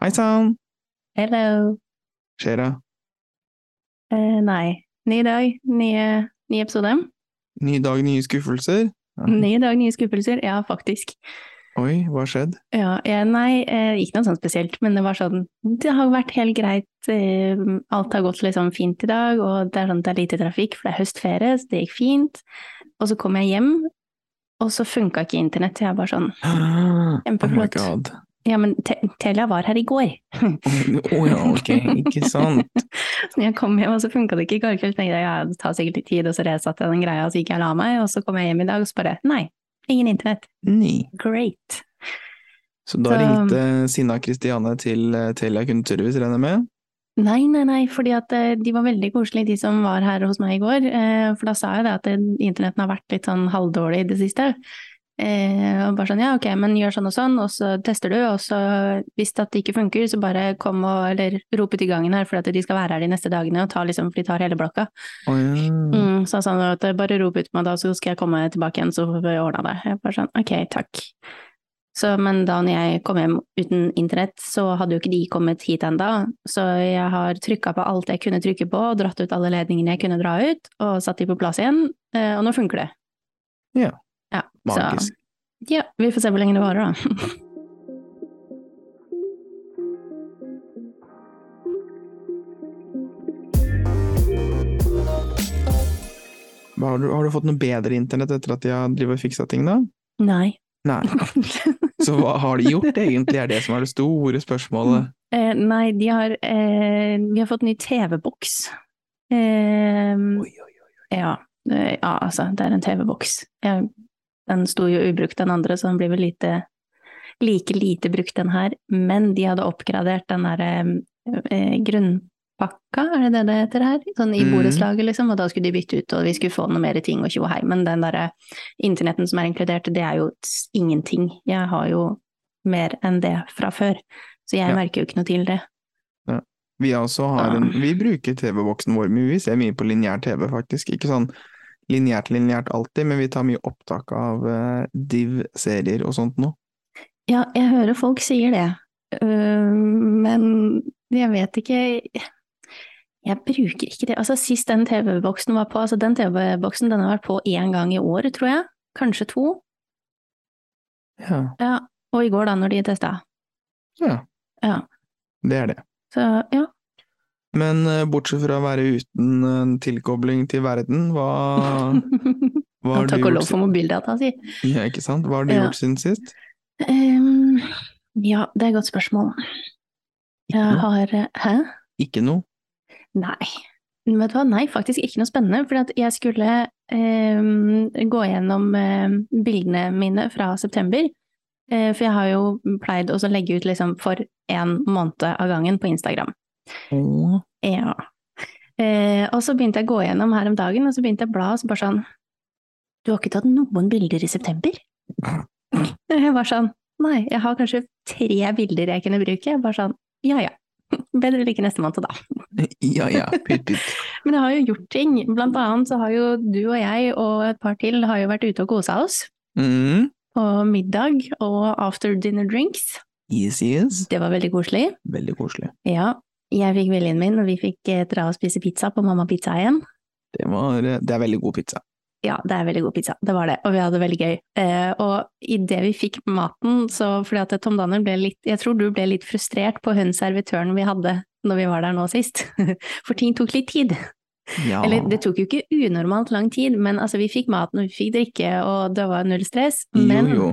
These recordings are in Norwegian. Hei sann! Hello. Skjer det? Eh, nei. Ny dag, nye, ny episode. Ny dag, nye skuffelser? Ja. Ny dag, nye skuffelser. Ja, faktisk. Oi, hva har skjedd? Ja, jeg, nei, eh, ikke noe sånn spesielt, men det var sånn Det har vært helt greit. Eh, alt har gått liksom fint i dag, og det er sånn at det er lite trafikk, for det er høstferie, så det gikk fint. Og så kom jeg hjem, og så funka ikke internett. så Jeg bare sånn Oh my Kjempeflott. god. Ja, men te Telia var her i går. Å å ja, ok, ikke sant. Så når jeg kom hjem, og så funka det ikke i går kveld. tenkte jeg ja, det tar sikkert litt tid, og så resatte jeg den greia, og så gikk jeg og la meg, og så kom jeg hjem i dag, og så bare nei, ingen internett. Nei. Great. Så da Så- um, ringte Sina Kristiane til eh, Telia kundeservice, regner jeg med? Nei, nei, nei, fordi at eh, de var veldig koselige, de som var her hos meg i går. eh, For da sa jeg det at eh, internetten har vært litt sånn halvdårlig i det siste. Eh, og bare sånn, ja, ok, men gjør sånn og sånn, og så tester du, og så hvis det at det ikke funker, så bare kom og eller rop ut i gangen her, for at de skal være her de neste dagene, og ta liksom, for de tar hele blokka. Å ja. Mm, så han sa han at bare rop ut meg da, så skal jeg komme tilbake igjen, så får vi ordna det. Jeg bare sånn, ok, takk. Så, men da når jeg kom hjem uten internett, så hadde jo ikke de kommet hit enda, så jeg har trykka på alt jeg kunne trykke på, og dratt ut alle ledningene jeg kunne dra ut, og satt de på plass igjen, eh, og nå funker det. Ja. Ja, Magisk. Så, ja, vi får se hvor lenge det varer, da. Hva Har, du, har du fått noe bedre internett etter at de har drivet og fiksa ting, da? Nei. Nei. Så hva har de gjort, egentlig, er det som er det store spørsmålet. Eh, nei, de har eh, Vi har fått ny TV-boks. Eh, Oi, oi, oi. Ja, det- ja altså, det er en TV-boks. Jeg- Den sto jo ubrukt, den andre, så den blir vel lite, like lite brukt, den her. Men de hadde oppgradert den derre eh, grunnpakka, er det det det heter her? Sånn i Mhm. borettslaget, liksom, og da skulle de bytte ut, og vi skulle få noe mer ting og tjo og hei. Men den derre internetten som er inkludert, det er jo s- ingenting. Jeg har jo mer enn det fra før, så jeg Ja. merker jo ikke noe til det. Vi, også har Ah. en, vi bruker TV-boksen vår mye, vi ser mye på lineær TV faktisk. Ikke sånn lineært lineært alltid, men vi tar mye opptak av eh, div-serier og sånt nå. Ja, jeg hører folk sier det, Øh, men jeg vet ikke Jeg bruker ikke det. Altså, sist den TV-boksen var på, altså den TV-boksen den har vært på én gang i året, tror jeg. Kanskje to. Ja. Ja. Og i går, da, når de testa. Det er det. Så ja. Men eh, bortsett fra å være uten en tilkobling til verden, hva, hva har du Takk og gjort, lov for mobildata, si. si- ja, ikke sant? Hva har du Ja. gjort siden sist? Ehm, ja, det er et godt spørsmål. Ikke Jeg noe. har eh, Hæ? Ikke noe. Nei. Men Vet du hva, nei, faktisk ikke noe spennende. For at jeg skulle ehm, gå gjennom ehm, bildene mine fra september. Eh, for jeg har jo pleid å så legge ut liksom for én måned av gangen på Instagram. Åh. Ja. Eh, og så begynte jeg å gå gjennom her om dagen, og så begynte jeg å bla, og så bare sånn Du har ikke tatt noen bilder i september? Jeg var sånn Nei, jeg har kanskje tre bilder jeg kunne bruke. Jeg bare sånn Ja ja. Bedre lykke neste måned, da. Ja, ja, pytt, pytt. Men jeg har jo gjort ting. Blant annet så har jo du og jeg og et par til har jo vært ute og kosa oss. Mm. På middag og after dinner drinks. Yes, yes. Det var veldig koselig. Veldig koselig. Ja. Jeg fikk viljen min, og vi fikk eh, dra og spise pizza på Mamma Pizza igjen. Det, var, eh, det er veldig god pizza. Ja, det er veldig god pizza. Det var det. Og vi hadde det veldig gøy. Eh, og idet vi fikk maten, så fordi at Tom Danner ble litt Jeg tror du ble litt frustrert på hun servitøren vi hadde når vi var der nå sist. For ting tok litt tid. Ja. Eller det tok jo ikke unormalt lang tid, men altså, vi fikk maten og vi fikk drikke, og det var null stress. Men Jo, jo.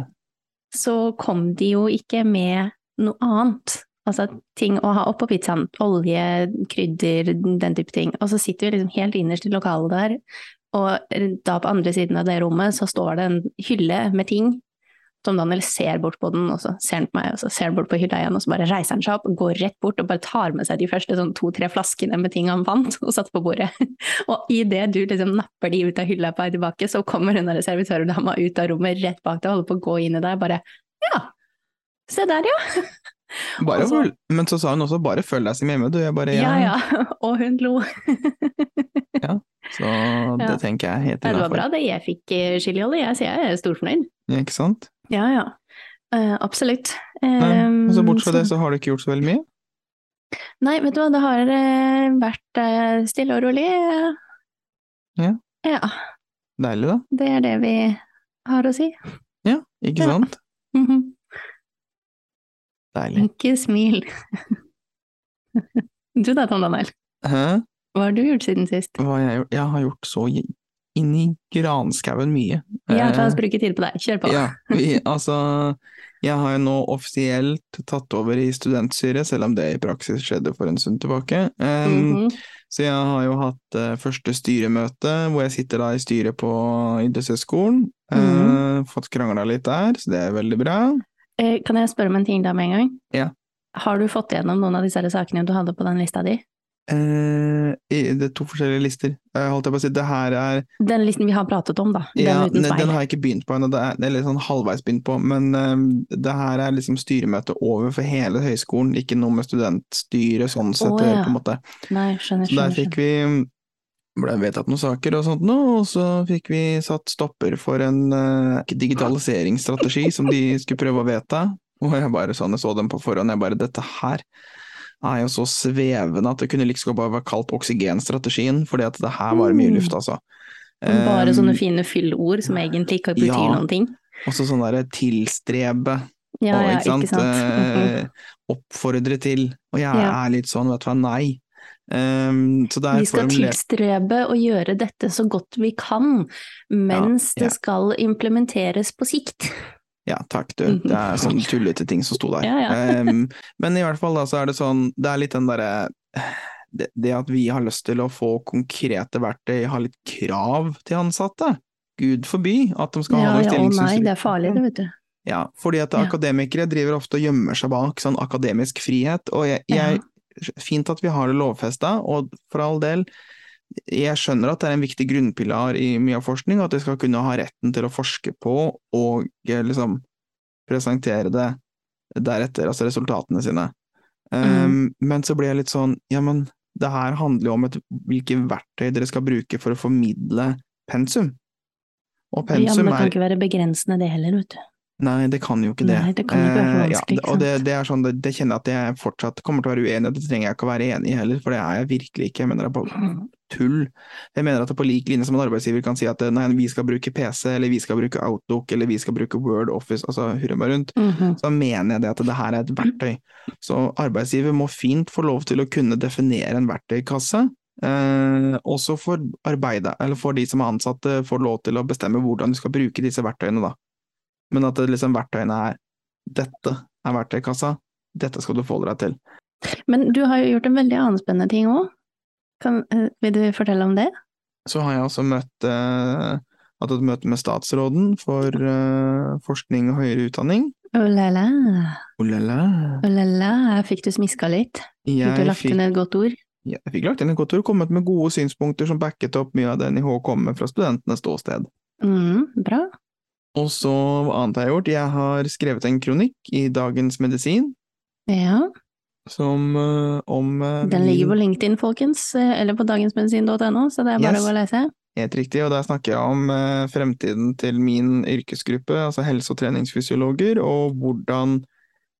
så kom de jo ikke med noe annet. Altså ting å ha oppå pizzaen. Olje, krydder, den type ting. Og så sitter vi liksom helt innerst i lokalet der, og da på andre siden av det rommet så står det en hylle med ting. Tom Daniel ser bort på den, og så ser han på meg, og så ser han bort på hylla igjen, og så bare reiser han seg opp, går rett bort og bare tar med seg de første sånn to-tre flaskene med ting han fant, og satte på bordet. Og idet du liksom napper de ut av hylla på vei tilbake, så kommer hun der servitørdama ut av rommet rett bak deg og holder på å gå inn i deg, bare ja, se der ja, Bare Altså- føl- men så sa hun også 'bare følg deg som hjemme', du. Jeg bare ja ja, og hun lo. Så det Ja. tenker jeg helt Nei, det var innafor. bra det, jeg fikk eh, chiliolje, jeg, så jeg er storfornøyd. Ikke sant? Ja ja. Eh, absolutt. Nei, Eh, altså Bortsett fra det så- så har du ikke gjort så veldig mye. Nei, vet du hva, det har eh, vært eh, stille og rolig. eh. Ja. Ja, Deilig, da. det er det vi har å si. Ja, ikke Ja. sant? Mhm. Deilig. Ikke smil. Du da, Tom Daniel. Hæ? Hva har du gjort siden sist? Hva har jeg gjort? Jeg har gjort så j- inn i granskauen mye. Ja, la Eh, oss bruke tid på deg. Kjør på. Ja, vi, altså Jeg har jo nå offisielt tatt over i studentstyret, selv om det i praksis skjedde for en stund tilbake. Eh, Mhm. Så jeg har jo hatt eh, første styremøte, hvor jeg sitter da i styret på idrettshøyskolen. Eh, Mhm. fått krangla litt der, så det er veldig bra. Eh, Kan jeg spørre om en ting da med en gang? Ja. Har du fått gjennom noen av disse her sakene du hadde på den lista di? Eh, i, det er to forskjellige lister. Eh, holdt jeg på å si, det her er Den listen vi har pratet om, da. Den ja, uten ne- speil. Den har jeg ikke begynt på ennå, det er- eller sånn halvveis begynt på. Men eh, det her er liksom styremøte over for hele høyskolen, ikke noe med studentstyret sånn sett å Å, gjøre, ja. på en måte. Nei, skjønner, Så der skjønner. fikk vi ble vedtatt noen saker og sånt nå, og så fikk vi satt stopper for en eh, digitaliseringsstrategi som de skulle prøve å vedta. Og jeg bare sånn, jeg så dem på forhånd, jeg bare dette her er jo så svevende at det kunne like så godt bare vært kalt oksygenstrategien, fordi at det her var mye Mm. luft, altså. skjønner. Mm. Bare Eh, sånne fine fyllord som egentlig ikke betyr ja. noen ting. Også sånn derre tilstrebe, Ja, og, ja, ikke sant? Mhm. Eh, oppfordre til. Og jeg Ja. er litt sånn, vet du hva, nei. Eh, så det er Vi skal formulert- tilstrebe å gjøre dette så godt vi kan, mens ja. det skal implementeres på sikt. Ja, takk du. Mhm. Det er sånne tullete ting som sto der. Ja, ja. Em, men i hvert fall da, så er det sånn, det er litt den derre det, det at vi har lyst til å få konkrete verktøy, ha litt krav til ansatte. Gud forby at de skal Ja, ha noen ja, å nei, det stillingsinstruksjoner. er farlig det, Mm. vet du. Ja, fordi at Ja. akademikere driver ofte og gjemmer seg bak sånn akademisk frihet, og jeg, jeg Fint at vi har det lovfesta, og for all del, jeg skjønner at det er en viktig grunnpilar i mye av forskning, at vi skal kunne ha retten til å forske på og eh, liksom presentere det deretter, altså resultatene sine. Mm. Um, Men så blir jeg litt sånn, ja men det her handler jo om et, hvilke verktøy dere skal bruke for å formidle pensum. Og Ja, men pensum det kan er ikke være begrensende det heller, vet du. Nei, det kan jo ikke det. Nei, det kan jo ikke være for Eh, vanskelig, ja, ikke og det, sant? det er sånn, det, det kjenner jeg at jeg fortsatt kommer til å være uenig i, det trenger jeg ikke å være enig i heller, for det er jeg virkelig ikke. Jeg mener det er på tull. Jeg mener at det på lik linje som en arbeidsgiver kan si at eh, nei, vi skal bruke PC, eller vi skal bruke Outlook, eller vi skal bruke Word, Office, altså hurra meg rundt Mhm. så mener jeg det at det her er et verktøy. Så arbeidsgiver må fint få lov til å kunne definere en verktøykasse. Eh, også for, arbeide, eller for de som er ansatte, får lov til å bestemme hvordan du skal bruke disse verktøyene. Da. Men at det, liksom, verktøyene er dette er verktøykassa, dette skal du forholde deg til. Men du har jo gjort en veldig annen spennende ting òg. Vil du fortelle om det? Så har jeg også møtt, eh, hatt et møte med statsråden for eh, forskning og høyere utdanning. Oh la la, Oh la la. oh la la, her fikk du smiska litt. Fikk du Jeg lagt inn et godt ord? Ja, jeg fikk lagt inn en god tur, kommet med gode synspunkter som backet opp mye av det NIH kom med fra studentenes ståsted. Mm, bra. Og så, hva annet har jeg gjort? Jeg har skrevet en kronikk i Dagens Medisin Ja. som eh, om eh, Den ligger på min- LinkedIn, folkens, eh, eller på dagensmedisin.no, så det er bare Yes. å gå og lese. Helt riktig, og der snakker jeg om eh, fremtiden til min yrkesgruppe, altså helse- og treningsfysiologer, og hvordan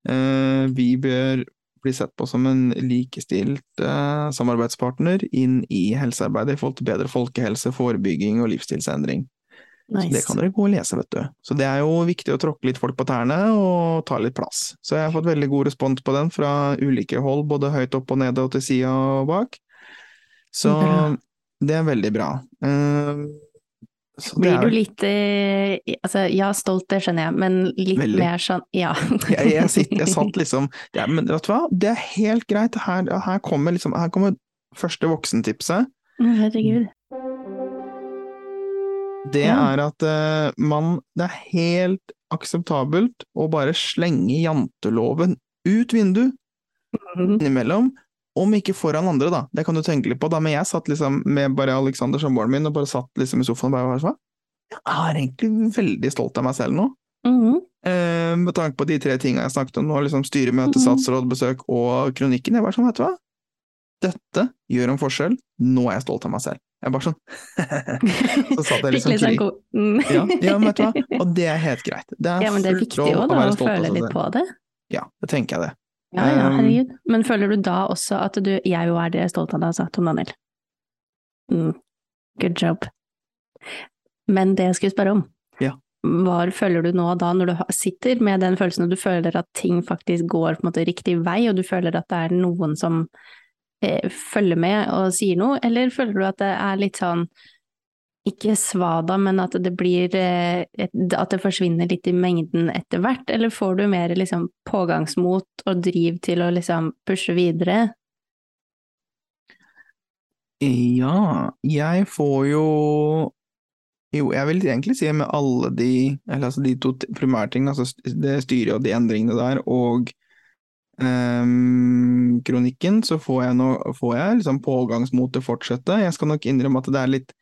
eh, vi bør bli sett på som en likestilt eh, samarbeidspartner inn i helsearbeidet i forhold til bedre folkehelse, forebygging og livsstilsendring. Så det Nice. kan dere gå og lese, vet du. Så det er jo viktig å tråkke litt folk på tærne og ta litt plass. Så jeg har fått veldig god respons på den fra ulike hold, både høyt opp og nede og til sida og bak. Så Bra. det er veldig bra. Eh, så det Blir er du vel- litt eh, altså, Ja, stolt, det skjønner jeg, men litt Veldig. mer sånn Ja. jeg, jeg, sitt, jeg satt liksom ja, Men vet du hva, det er helt greit. Her, her, kommer, liksom, her kommer første voksentipset. Å, Herregud. Det Ja. er at eh, man Det er helt akseptabelt å bare slenge janteloven ut vinduet Mhm. innimellom. Om ikke foran andre, da. Det kan du tenke litt på. da, Men jeg satt liksom med bare Alexander samboeren min og bare satt liksom i sofaen og bare var sånn Jeg er egentlig veldig stolt av meg selv nå. Mhm. Eh, med tanke på de tre tinga jeg snakket om nå, liksom styremøte, Mhm. statsrådbesøk og kronikken. Jeg var sånn, vet du hva. Dette gjør en forskjell. Nå er jeg stolt av meg selv. Jeg er bare sånn Så satt jeg Fikk liksom litt sånn krig. god Mm. Ja, ja, men vet du hva? Og det er helt greit. Det er Ja, men det er fullt viktig lov òg, da, være å stolt altså, av føle seg litt selv. på det. Ja, det tenker jeg det. Ja, ja, Um, herregud. Men føler du da også at du Jeg jo er det stolt av deg, altså, Tom Daniel. Mm. Good job. Men det jeg skulle spørre om, Ja. var føler du nå da, når du ha- sitter med den følelsen og du føler at ting faktisk går på en måte riktig vei, og du føler at det er noen som eh, følger med og sier noe, eller føler du at det er litt sånn ikke svada, men at det blir eh, et- At det forsvinner litt i mengden etter hvert, eller får du mer liksom pågangsmot og driv til å liksom pushe videre? Ja, jeg får jo Jo, jeg vil egentlig si med alle de Eller altså de to t- primærtingene, altså st- det styret og de endringene der, og ehm, kronikken, så får jeg, nå, får jeg liksom pågangsmot til å fortsette. Jeg skal nok innrømme at det er litt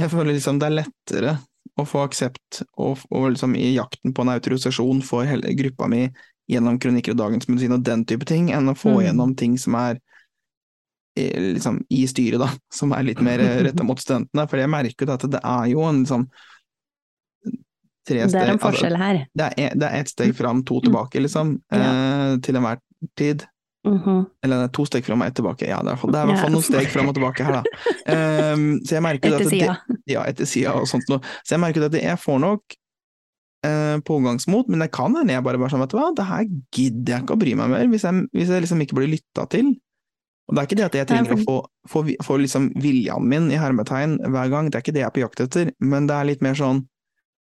Jeg føler liksom det er lettere å få aksept og, f- og liksom i jakten på en autorisasjon for hele gruppa mi gjennom kronikker og Dagens Medisin og den type ting, enn å få Mm. gjennom ting som er eh, liksom, i styret, da, som er litt mer retta mot studentene. For jeg merker jo at det er jo en liksom tre Det er steg- en altså, forskjell Mm. her. det er, det er ett steg fram, to tilbake, liksom. Eh, til enhver tid. Mhm. Eller det er to steg fram og ett tilbake. Ja, det er, i hvert fall- det er i hvert fall Ja. noen steg fram og tilbake her, da. Ehm, så jeg merker jo Etter at det, sida. ja, etter sida og sånt noe. Så jeg merker jo at jeg får nok eh, pågangsmot, men jeg kan hende jeg bare bare sånn, vet du hva, det her gidder jeg ikke å bry meg mer, hvis jeg, hvis jeg liksom ikke blir lytta til. Og det er ikke det at jeg Nei, trenger å for- få, få, vi- få liksom viljen min i hermetegn hver gang, det er ikke det jeg er på jakt etter, men det er litt mer sånn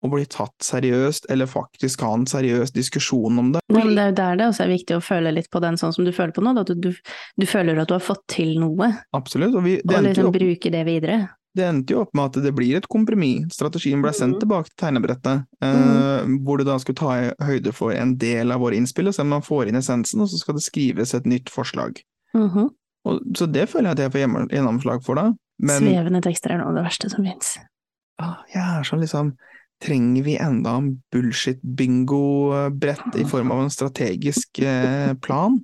å bli tatt seriøst, eller faktisk ha en seriøs diskusjon om det. Men det er jo der det også er viktig å føle litt på den sånn som du føler på nå, da, at du, du, du føler at du har fått til noe, Absolutt. Og vi, det, og endte jo opp, liksom bruke det videre. det endte jo opp med at det blir et kompromiss. Strategien ble sendt Mhm. tilbake til tegnebrettet, eh, hvor du da skulle ta i høyde for en del av våre innspill, og se om man får inn essensen, og så skal det skrives et nytt forslag. Mhm. Og, så det føler jeg at jeg får hjemme- gjennomslag for, da. Men Svevende tekster er noe av det verste som fins. Åh, Jeg er sånn liksom Trenger vi enda en bullshit-bingo-brett i form av en strategisk eh, plan?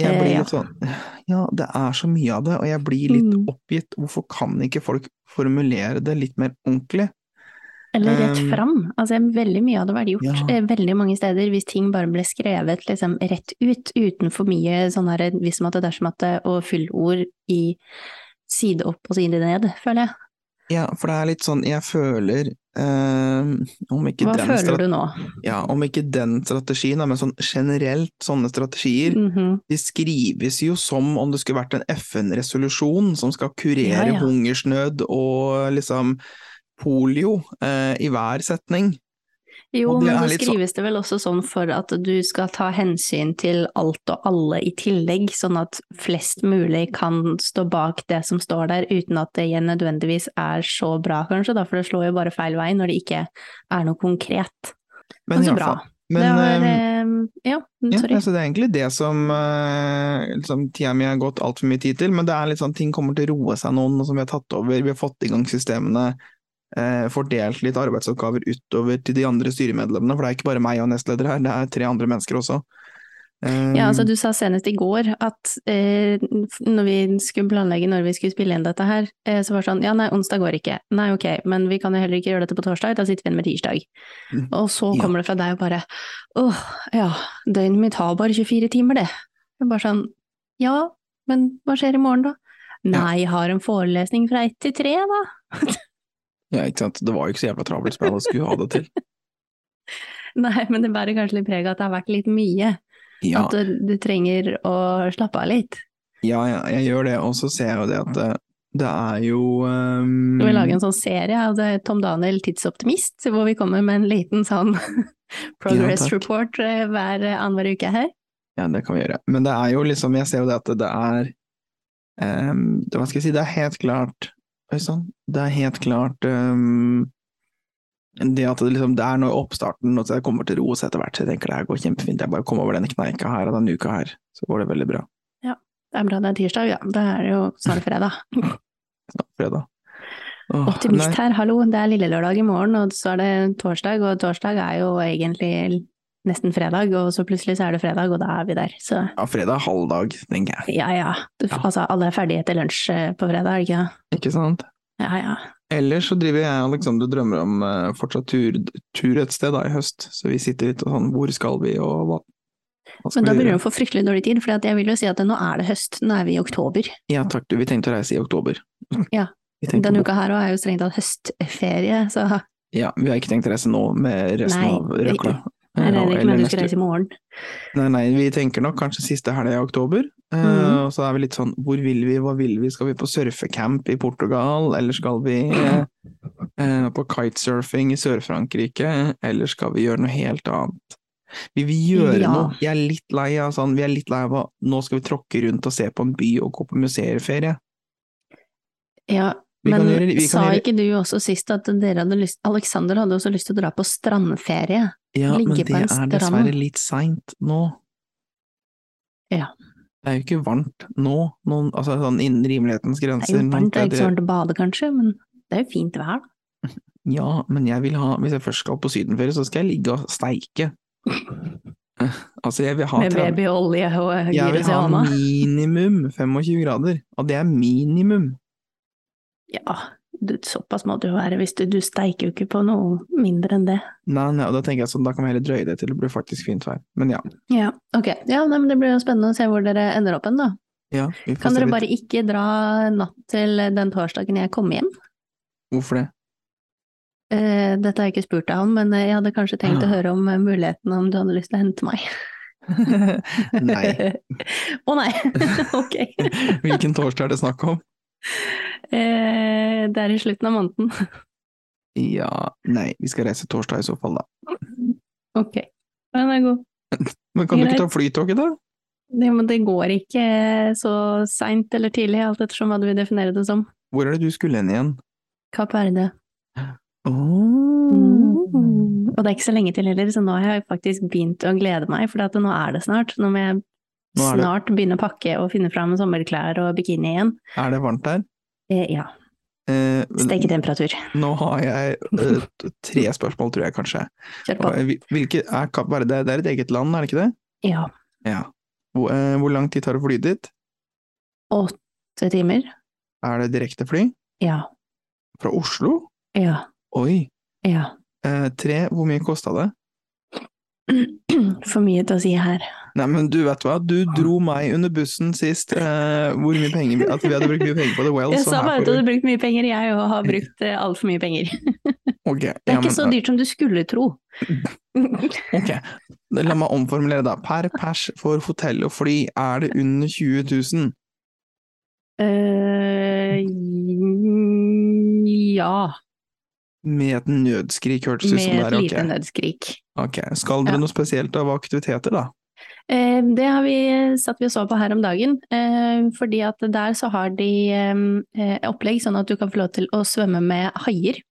Jeg Eh, blir ja. litt sånn Ja, det er så mye av det, og jeg blir litt Mm. oppgitt. Hvorfor kan ikke folk formulere det litt mer ordentlig? Eller rett Um, fram. Altså, veldig mye hadde vært gjort Ja. eh, veldig mange steder hvis ting bare ble skrevet liksom, rett ut, uten for mye sånn her hvis som at det dersom at det, og fyllord i side opp og side ned, føler jeg. Ja, for det er litt sånn Jeg føler eh, Om ikke Hva den føler strate- du nå? Ja, om ikke den strategien, da, men sånn generelt sånne strategier Mhm. Det skrives jo som om det skulle vært en FN-resolusjon som skal kurere Ja, ja. hungersnød og liksom polio eh, i hver setning. Jo, Og det men er så litt sånn- skrives det vel også sånn for at du skal ta hensyn til alt og alle i tillegg, sånn at flest mulig kan stå bak det som står der, uten at det igjen nødvendigvis er så bra, kanskje, da, for det slår jo bare feil vei når det ikke er noe konkret. Men, i så hvert bra. fall- Men, det var, eh, eh, ja, mm, ja, sorry. altså det er egentlig det som eh, liksom, tida mi har gått altfor mye tid til, men det er litt sånn ting kommer til å roe seg noen, og som vi har tatt over. Vi har fått i gang systemene, eh, fordelt litt arbeidsoppgaver utover til de andre styremedlemmene, for det er ikke bare meg og nestleder her, det er tre andre mennesker også. Eh, Ja, altså du sa senest i går at eh, f- når vi skulle planlegge når vi skulle spille inn dette her, eh, så var det sånn ja nei, onsdag går ikke. Nei ok, men vi kan jo heller ikke gjøre dette på torsdag, da sitter vi igjen med tirsdag. Mm. Og så Ja. kommer det fra deg og bare åh ja, døgnet mitt har bare 24 timer det. Jeg bare sånn ja, men hva skjer i morgen da? Nei, jeg har en forelesning fra ett til tre da. ja, ikke sant. Det var jo ikke så jævla travelt som jeg hadde skulle ha det til. Nei, men det bærer kanskje litt preg av at det har vært litt mye. Ja. At du, du trenger å slappe av litt. Ja, ja, jeg gjør det, og så ser jeg jo det at det, det er jo ehm, Vi Mm. vil lage en sånn serie av det, Tom Daniel Tidsoptimist, hvor vi kommer med en liten sånn progress takk. report eh, hver eh, annenhver uke her. Ja, det kan vi gjøre. Men det er jo liksom, jeg ser jo det at det er ehm, det, Hva skal jeg si, det er helt klart Oi sann. Det er helt klart ehm, det at det liksom, det er nå i oppstarten, og så jeg kommer til å roe seg etter hvert. Så jeg tenker det her går kjempefint. Jeg bare kommer over denne kneika her og denne uka her, så går det veldig bra. Det er bra det er tirsdag, ja. Da er det jo snart fredag. Ja, fredag. Åh, Optimist nei. her, hallo. Det er lille lørdag i morgen, og så er det torsdag, og torsdag er jo egentlig nesten fredag, og så plutselig så er det fredag, og da er vi der. Så Ja, fredag er halvdag, tenker jeg. ja, ja. Du, Ja. Altså, alle er ferdige etter lunsj eh, på fredag, er det ikke det? Ikke sant? Ja, ja. Ellers så driver jeg og Alexander og drømmer om eh, fortsatt tur, tur et sted da i høst, så vi sitter litt og sånn hvor skal vi og hva, hva skal Men da vi begynner gjøre? du å få fryktelig dårlig tid, for jeg vil jo si at nå er det høst. Nå er vi i oktober. Ja takk, du, vi tenkte å reise i oktober. Ja, Vi tenkte Denne å- uka her også er jo strengt tatt høstferie, så Ja, vi har ikke tenkt å reise nå med resten Nei, av røkla. jeg Eh, regner ikke eller med at du neste skal reise i morgen. Nei, nei, vi tenker nok kanskje siste helga i oktober. Eh, Mhm. og så er vi litt sånn hvor vil vi, hva vil vi? Skal vi på surfecamp i Portugal, eller skal vi eh, eh, på kitesurfing i Sør-Frankrike, eller skal vi gjøre noe helt annet? Vi vil gjøre Ja. noe. Vi er litt lei av sånn, vi er litt lei av å nå skal vi tråkke rundt og se på en by og gå på museerferie. Ja, Vi men kan gjøre, vi sa kan gjøre, ikke du også sist at dere hadde lyst Alexander hadde også lyst til å dra på strandferie? ja, ligge men på det en er strand? dessverre litt seint nå. Ja. Det er jo ikke varmt nå, noen, altså sånn innen rimelighetens Det grenser. er jo noen varmt, det er ikke sånn. steder- så varmt å bade kanskje, men det er jo fint vær. da. Ja, men jeg vil ha, hvis jeg først skal på sydenferie, så skal jeg ligge og steike. altså, jeg vil ha, Med 30 babyolje og eh, jeg vil gyros i ha hånda. minimum 25 grader, og det er minimum. Ja, du, såpass må det jo være hvis du, du steiker jo ikke på noe mindre enn det. Nei, nei, og da tenker jeg sånn, da kan vi heller drøye det til det blir faktisk fint vær. Men ja, Ja, ok. Ja, nei, men det blir jo spennende å se hvor dere ender opp hen, da. ja vi får Kan se dere litt. bare ikke dra natt til den torsdagen jeg kommer hjem? Hvorfor det? Eh, Dette har jeg ikke spurt deg om, men eh, jeg hadde kanskje tenkt å høre om eh, muligheten om du hadde lyst til å hente meg. nei. Å nei, ok. Hvilken torsdag er det snakk om? Eh, Det er i slutten av måneden. Ja, nei, vi skal reise torsdag i så fall, da. Ok, den er god. Men kan du ikke ta Greit. flytoget, da? Det, men det går ikke så seint eller tidlig, alt ettersom hva du vil definere det som. Hvor er det du skulle hen igjen? Kapp Verde. Åh. Mm. Og det er ikke så lenge til heller, så nå har jeg faktisk begynt å glede meg, for at nå er det snart. Nå må jeg Nå er det- snart begynne å pakke og finne fram sommerklær og bikini igjen. Er det varmt der? Eh, ja, Eh, steketemperatur. Nå har jeg eh, t- tre spørsmål, tror jeg kanskje. Kjør på. Og, eh, hvil- Hvilke, er Kapp Verde det er et eget land, er det ikke det? Ja, Ja. Hvor, eh, hvor lang tid tar det å fly dit? åtte timer. Er det direktefly? Ja, Fra Oslo? ja, Oi! ja. Eh, tre, hvor mye kosta det? For mye til å si her. Nei, men du vet hva, du dro meg under bussen sist eh, hvor mye penger vi- At vi hadde brukt mye penger på The Well, Jeg så sa her bare får at du du hadde brukt mye penger, jeg òg har brukt eh, altfor mye penger. Ok, Det ja, er men, eh, ikke så dyrt som du skulle tro. ok. La meg omformulere, da. Per pers for hotell og fly, er det under 20 000? Eh, ja, Med et nødskrik, hørtes det ut med som det et er ok. lite nødskrik. Ok, skal dere Ja. noe spesielt av aktiviteter da? Eh, Det har vi satt vi og så på her om dagen, eh, fordi at der så har de eh, opplegg sånn at du kan få lov til å svømme med haier.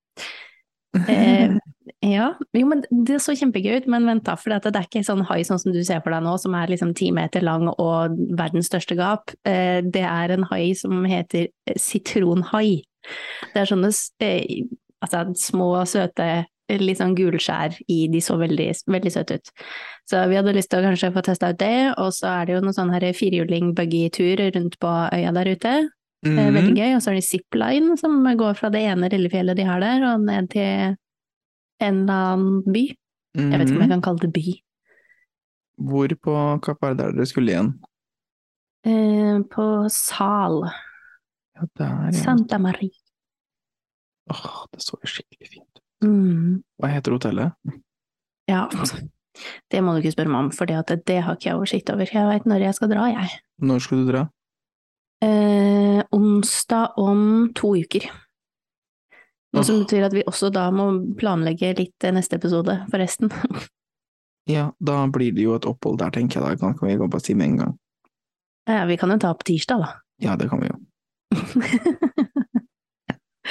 Eh, ja, jo, men det så kjempegøy ut, men vent da, for det er ikke sånn hai sånn som du ser for deg nå, som er liksom ti meter lang og verdens største gap. Eh, det er en hai som heter eh, sitronhai. Det er sånne s- eh, altså, små, søte, eh, litt sånn gulskjær i, de så veldig, veldig søte ut. Så vi hadde lyst til å kanskje få testa ut det, og så er det jo noen sånn her firehjuling-buggy-tur rundt på øya der ute. Det er Eh, Mhm. Veldig gøy. Og så har de zipline, som går fra det ene rillefjellet de har der, og ned til en eller annen by. Jeg vet ikke om jeg kan kalle det by. mhm. Hvor på Kapp Verde er det dere skulle igjen? Eh, på Sal. Ja, der, ja. Santa Maria. Åh, det så jo skikkelig fint ut. Mm, Hva heter hotellet? ja. Det må du ikke spørre meg om, for det, at det har ikke jeg oversikt over. Jeg veit når jeg skal dra, jeg. Når skulle du dra? Eh, onsdag om to uker. Noe som Åh. betyr at vi også da må planlegge litt eh, neste episode, forresten. Ja, da blir det jo et opphold der, tenker jeg da. Kan kan vi gå på si med en gang? Ja, vi kan jo ta opp tirsdag, da. Ja, det kan vi jo.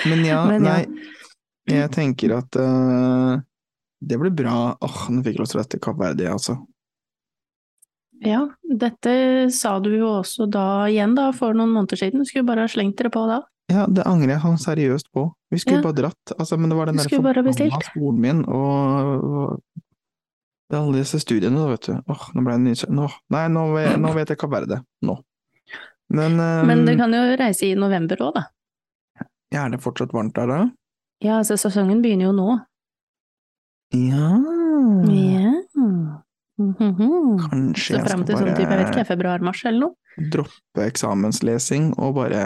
Men ja, Men ja. nei, jeg tenker at eh, det blir bra. Åh, nå fikk jeg lyst til å reise til Kapp Verde, altså. Ja, dette sa du jo også da igjen da, for noen måneder siden. Du skulle bare ha slengt dere på da. Ja, det angrer jeg sånn seriøst på. Vi skulle Ja. bare dratt, altså, men det var den Vi der skulle bare forbanna bestilt. skolen min, og Det er alle disse studiene, da, vet du. Åh, nå ble jeg nysgjerrig. Nå- Nei, nå vet, nå vet jeg hva verre det. Nå. Men, eh, Men du kan jo reise i november òg, da. er det fortsatt varmt der, da? Ja, altså sesongen begynner jo nå. Ja. Ja. Mhm. Mm. Kanskje Så jeg fram skal til sånn type, jeg vet ikke, bare jeg, februar-mars eller noe. droppe eksamenslesing og bare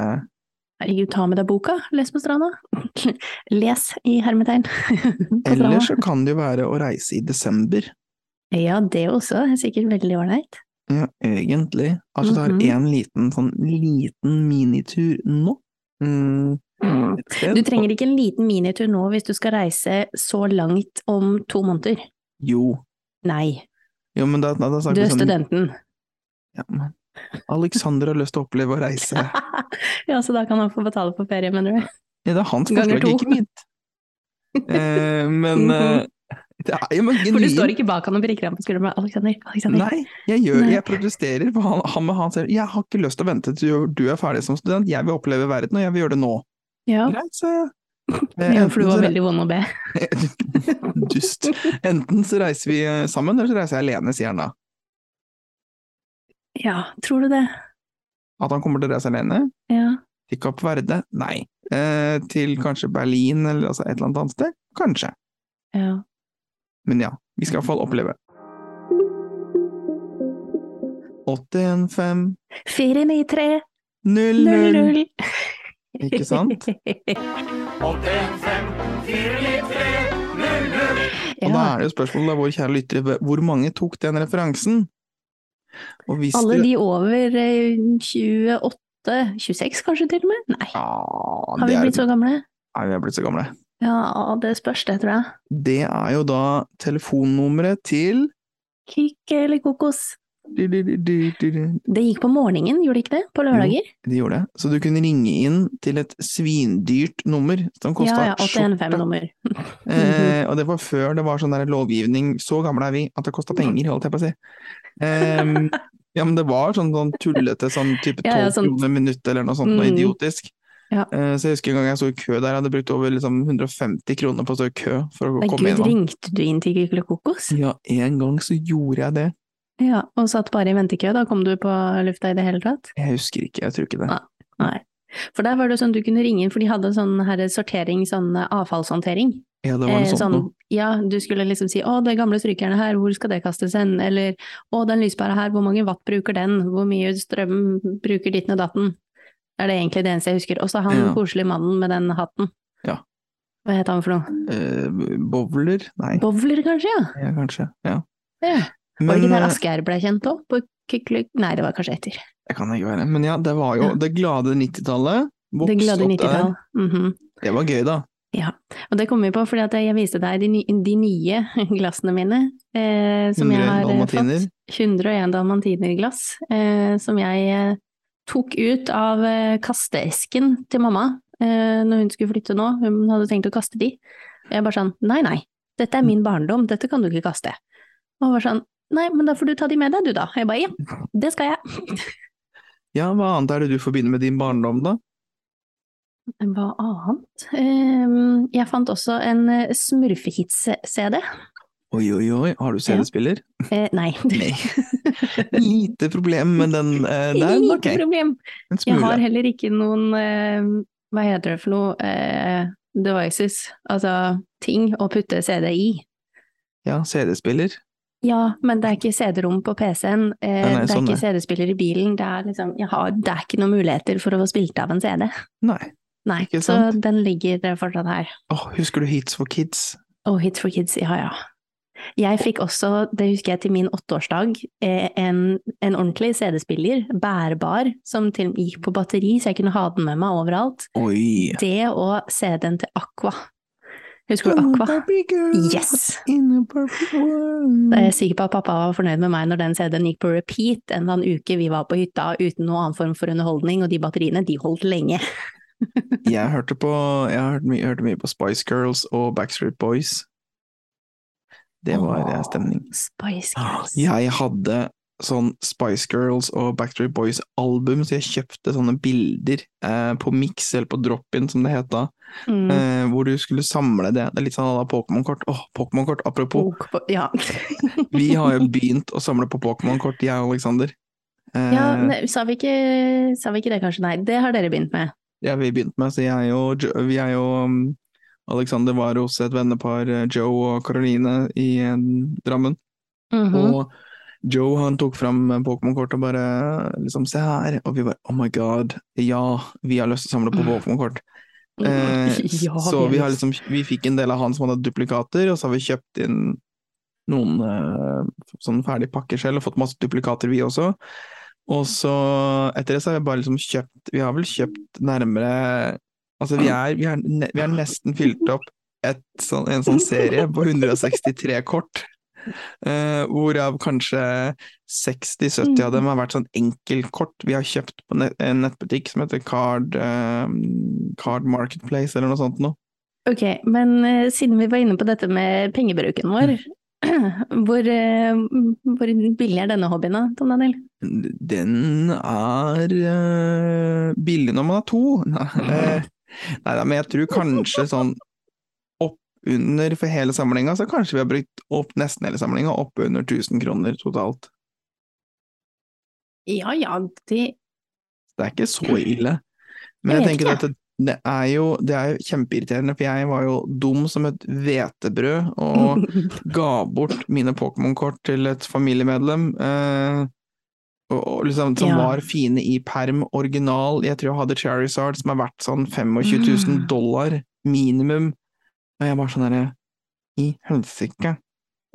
Herregud, ta med deg boka, les på stranda. Les i hermetegn. På stranda. Eller så kan det jo være å reise i desember. Ja, det også er sikkert veldig ålreit. Ja, egentlig. Altså tar Mhm. en liten sånn liten minitur nå. Mm, et sted. Du trenger ikke en liten minitur nå hvis du skal reise så langt om to måneder. Jo. Nei, Jo, men da, da, da du snakker er vi sånn studenten. ja, men Alexander har lyst til å oppleve å reise. Ja, så da kan han få betale for ferie, mener du? Ja, det er hans Ganger forslag, to. Mhm. ikke mitt. Eh, men eh, det er jo men For du genuint. står ikke bak han og prikker ham på skulderen med Alexander, Alexander. Nei, jeg gjør Nei. Jeg protesterer, for han, han, men han sier jeg har ikke lyst til å vente til du er ferdig som student, jeg vil oppleve verden, og jeg vil gjøre det nå. Ja, Greit, sa jeg. Eh, ja, for enten du var så- veldig vond å be. Dust. Enten så reiser vi eh, sammen, eller så reiser jeg alene, sier han da. Ja, tror du det? At han kommer til å reise alene? Ja. Til Kapp Verde? Nei. Eh, til kanskje Berlin, eller altså et eller annet annet sted? Kanskje. ja. Men ja, vi skal iallfall oppleve. 81 5 Fire med i tre, 0 null, 0 null. Ikke sant? Og da Ja, er det jo spørsmålet, da, våre kjære lyttere, hvor mange tok den referansen? Og hvis alle du... de over eh, 28, 26 kanskje til og med? Nei, Ja, har det vi er... blitt så gamle? Nei, vi er blitt så gamle. Ja, det spørs det, tror jeg. Det er jo da telefonnummeret til Kikk eller kokos. Du, du, du, du, du, du. Det gikk på morgenen, gjorde det ikke det? På lørdager? De gjorde det. Så du kunne ringe inn til et svindyrt nummer som kosta ja, ja, 815-nummer. Mhm. Eh, og det var før det var sånn der lovgivning Så gamle er vi at det kosta penger, holdt jeg på å si. Em, ja, men det var sånn, sånn tullete sånn type 12 Ja, ja, sånn- kroner minuttet eller noe sånt, noe Mm. idiotisk. Ja. Eh, så jeg husker en gang jeg sto i kø der, jeg hadde brukt over liksom 150 kroner på å stå i kø for å Nei, komme gud, gjennom. ringte du inn til Kikk eller kokos? Ja, en gang så gjorde jeg det. Ja, og satt bare i ventekø, da kom du på lufta i det hele tatt? Jeg husker ikke, jeg tror ikke det. Nei. Nei. For der var det sånn du kunne ringe inn, for de hadde sånn her sortering, sånn eh, avfallshåndtering. Ja, det var noe Eh, sånt sånn, noe. ja, du skulle liksom si 'Å, det gamle strykejernet her, hvor skal det kastes hen?' Eller 'Å, den lyspæra her, hvor mange watt bruker den? Hvor mye strøm bruker ditten og datten?' Det er det egentlig det eneste jeg husker. Og så han Ja. koselige mannen med den hatten. Ja. Hva het han for noe? Eh, bowler? Nei, Bowler, kanskje? Ja. ja, kanskje. Ja. ja. Var det Men, ikke der eh, Asgeir ble kjent òg? På Kykelyk Nei, det var kanskje etter. Det kan ikke være. Men ja, det var jo Ja. det glade 90-tallet. Det Vokst glade opp der. 90-tall. Mhm. Det var gøy, da. Og det kom vi på fordi at jeg viste deg de, ny- de nye glassene mine eh, som jeg 101 har eh, fått. dalmatiner. 101 dalmatinerglass eh, som jeg eh, tok ut av eh, kasteesken til mamma eh, når hun skulle flytte nå. Hun hadde tenkt å kaste de. Og jeg bare sånn nei, nei, dette er min barndom, dette kan du ikke kaste. Og hun var sånn nei, men da får du ta de med deg du da. Og jeg bare ja, det skal jeg. Ja, hva annet er det du forbinder med din barndom, da? Hva annet? Eh, jeg fant også en eh, smurfehits-CD. Oi, oi, oi, har du CD-spiller? Eh, nei. Nei. Lite problem med den eh, der, men ok. Lite problem. En Jeg har smule. heller ikke noen eh, Hva heter det for noe? Eh, devices. Altså ting å putte CD i. Ja, CD-spiller. Ja, men det er ikke CD-rom på PC-en. Eh, Nei, nei, det er sånn ikke CD-spiller i bilen. Det er, liksom, jeg har, det er ikke noen muligheter for å få spilt av en CD. Nei. Nei, Ikke så sant? den ligger eh, fortsatt her. Åh, husker du Hits for Kids? Og Hits Oh, for Kids, ja ja. Jeg fikk også, det husker jeg til min åtteårsdag, eh, en, en ordentlig CD-spiller, bærbar, som til og med gikk på batteri, så jeg kunne ha den med meg overalt. Oi! Det og CD-en til Aqua. Husker du Aqua? Barbie girl Yes! in a Barbie world. Da er jeg sikker på at pappa var fornøyd med meg når den CD-en gikk på repeat en eller annen uke vi var på hytta uten noen annen form for underholdning, og de batteriene, de holdt lenge. Jeg hørte på Jeg hørte mye, hørte mye på Spice Girls og Backstreet Boys. Det var eh, stemning. Ah, Spice Girls. Jeg hadde sånn Spice Girls og Backstreet Boys-album, så jeg kjøpte sånne bilder eh, på Mix, eller på Drop-In som det het da, Mm. eh, hvor du skulle samle det. Det er litt sånn à la Pokémon-kort. Åh, Pokémon-kort, apropos. Bok på Ja. Vi har jo begynt å samle på Pokémon-kort, jeg og Aleksander. Eh, ja ne, sa, vi ikke, sa vi ikke det, kanskje? Nei, det har dere begynt med. Ja, vi begynte med, så jeg og, Jo- jeg og um, Alexander var hos et vennepar, eh, Joe og Caroline, i eh, Drammen. Mhm. Og Joe han tok fram eh, Pokémon-kort og bare liksom 'se her', og vi bare 'oh my god', ja, vi har lyst til å samle på Pokémon-kort. Eh, Mhm. Mm. Ja, så vi, har lyst. liksom, vi fikk en del av han som hadde duplikater, og så har vi kjøpt inn noen eh, sånn ferdige pakker selv, og fått masse duplikater vi også. Og så etter det så har vi bare liksom kjøpt Vi har vel kjøpt nærmere Altså vi er, vi er, ne, vi er nesten fylt opp et, sånn, en sånn serie på 163 kort. eh, hvorav kanskje 60-70 av dem har vært sånn enkeltkort vi har kjøpt på net, en nettbutikk som heter Card, eh, Card Marketplace eller noe sånt noe. Ok, men eh, siden vi var inne på dette med pengebruken vår, hvor, eh, hvor billig er denne hobbyen da, Tom Daniel? Den er eh, billig når man er to. Nei, eh, neida, men jeg tror kanskje sånn oppunder for hele samlinga, så kanskje vi har brukt opp nesten hele samlinga oppunder 1000 kroner totalt. Ja ja, de Det er ikke så ille. Men jeg Jeg vet tenker ikke. at det, det er jo det er jo kjempeirriterende, for jeg var jo dum som et hvetebrød Mhm. og liksom- ga bort mine Pokémon-kort til et familiemedlem. Eh, og, og liksom, som Ja. var fine i perm, original. Jeg tror jeg hadde Charizard som er verdt sånn 25 000 Mm. dollar minimum. Og jeg bare sånn derre I helsike.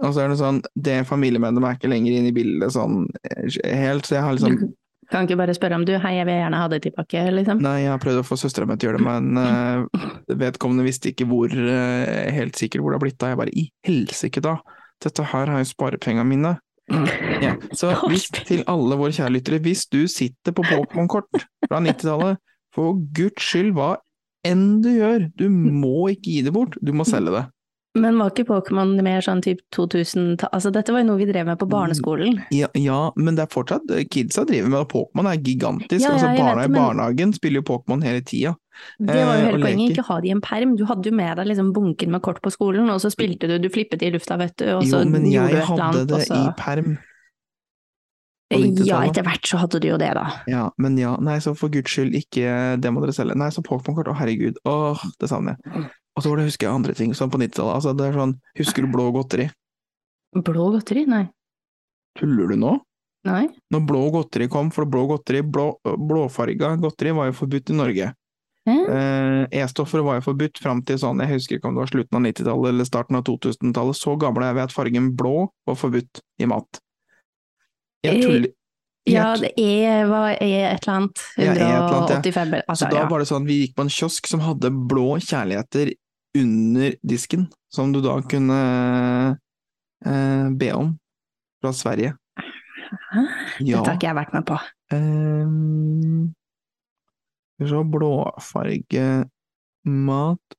Og så er det sånn Det familiemedlemmet er ikke lenger inne i bildet sånn eh, helt, så jeg har liksom Kan ikke bare spørre om du, hei, jeg vil gjerne ha det tilbake, liksom. Nei, jeg har prøvd å få søstera mi til å gjøre det, men eh, vedkommende visste ikke hvor eh, helt sikkert hvor det har blitt av. Jeg bare i helsike, da! Dette her er jo sparepengene mine. Mm, Ja. Så hvis, til alle våre kjære lyttere, hvis du sitter på Pokémon-kort fra 90-tallet, for guds skyld, hva enn du gjør, du må ikke gi det bort, du må selge det. Men var ikke Pokémon mer sånn typ 2000 Altså, dette var jo noe vi drev Mm. med på barneskolen. Ja, ja men det er fortsatt Kidsa driver med Pokémon, er gigantisk. Ja, ja, altså, jeg vet barna i det, men- barnehagen spiller jo Pokémon hele tida. Det Eh, var jo og hele poenget, leker. ikke ha de i en perm. Du hadde jo med deg liksom bunken med kort på skolen, og så spilte du, du flippet i lufta, vet du, og Jo, så men gjorde du jeg et eller hadde annet, altså. det og så i perm. på 90-tallet. Ja, etter hvert så hadde du jo det, da. Ja, men ja, nei, så for guds skyld, ikke det må dere selge. Nei, så Pokémon-kort, å herregud, åh, det savner jeg. Og så var det, husker jeg andre ting, sånn på 90-tallet, altså det er sånn, husker du blå godteri? Blå godteri? Nei. Tuller du nå? Nei. Når blå godteri kom, for blå godteri, blå, blåfarga godteri var jo forbudt i Norge. Hæ? Eh, E-stoffer var jo forbudt fram til sånn, jeg husker ikke om det var slutten av 90-tallet eller starten av 2000-tallet, så gammel er jeg ved at fargen blå var forbudt i mat. Jeg Eh, tuller. jeg Ja, det er, hva er et eller annet. Ja, er et eller annet, ja. 185 eller- altså, så da ja. var det sånn, vi gikk på en kiosk som hadde blå kjærligheter under disken, som du da kunne eh, be om fra Sverige. Hæ? Ja. Dette har ikke jeg vært med på. ehm, Skal vi se, blåfarge mat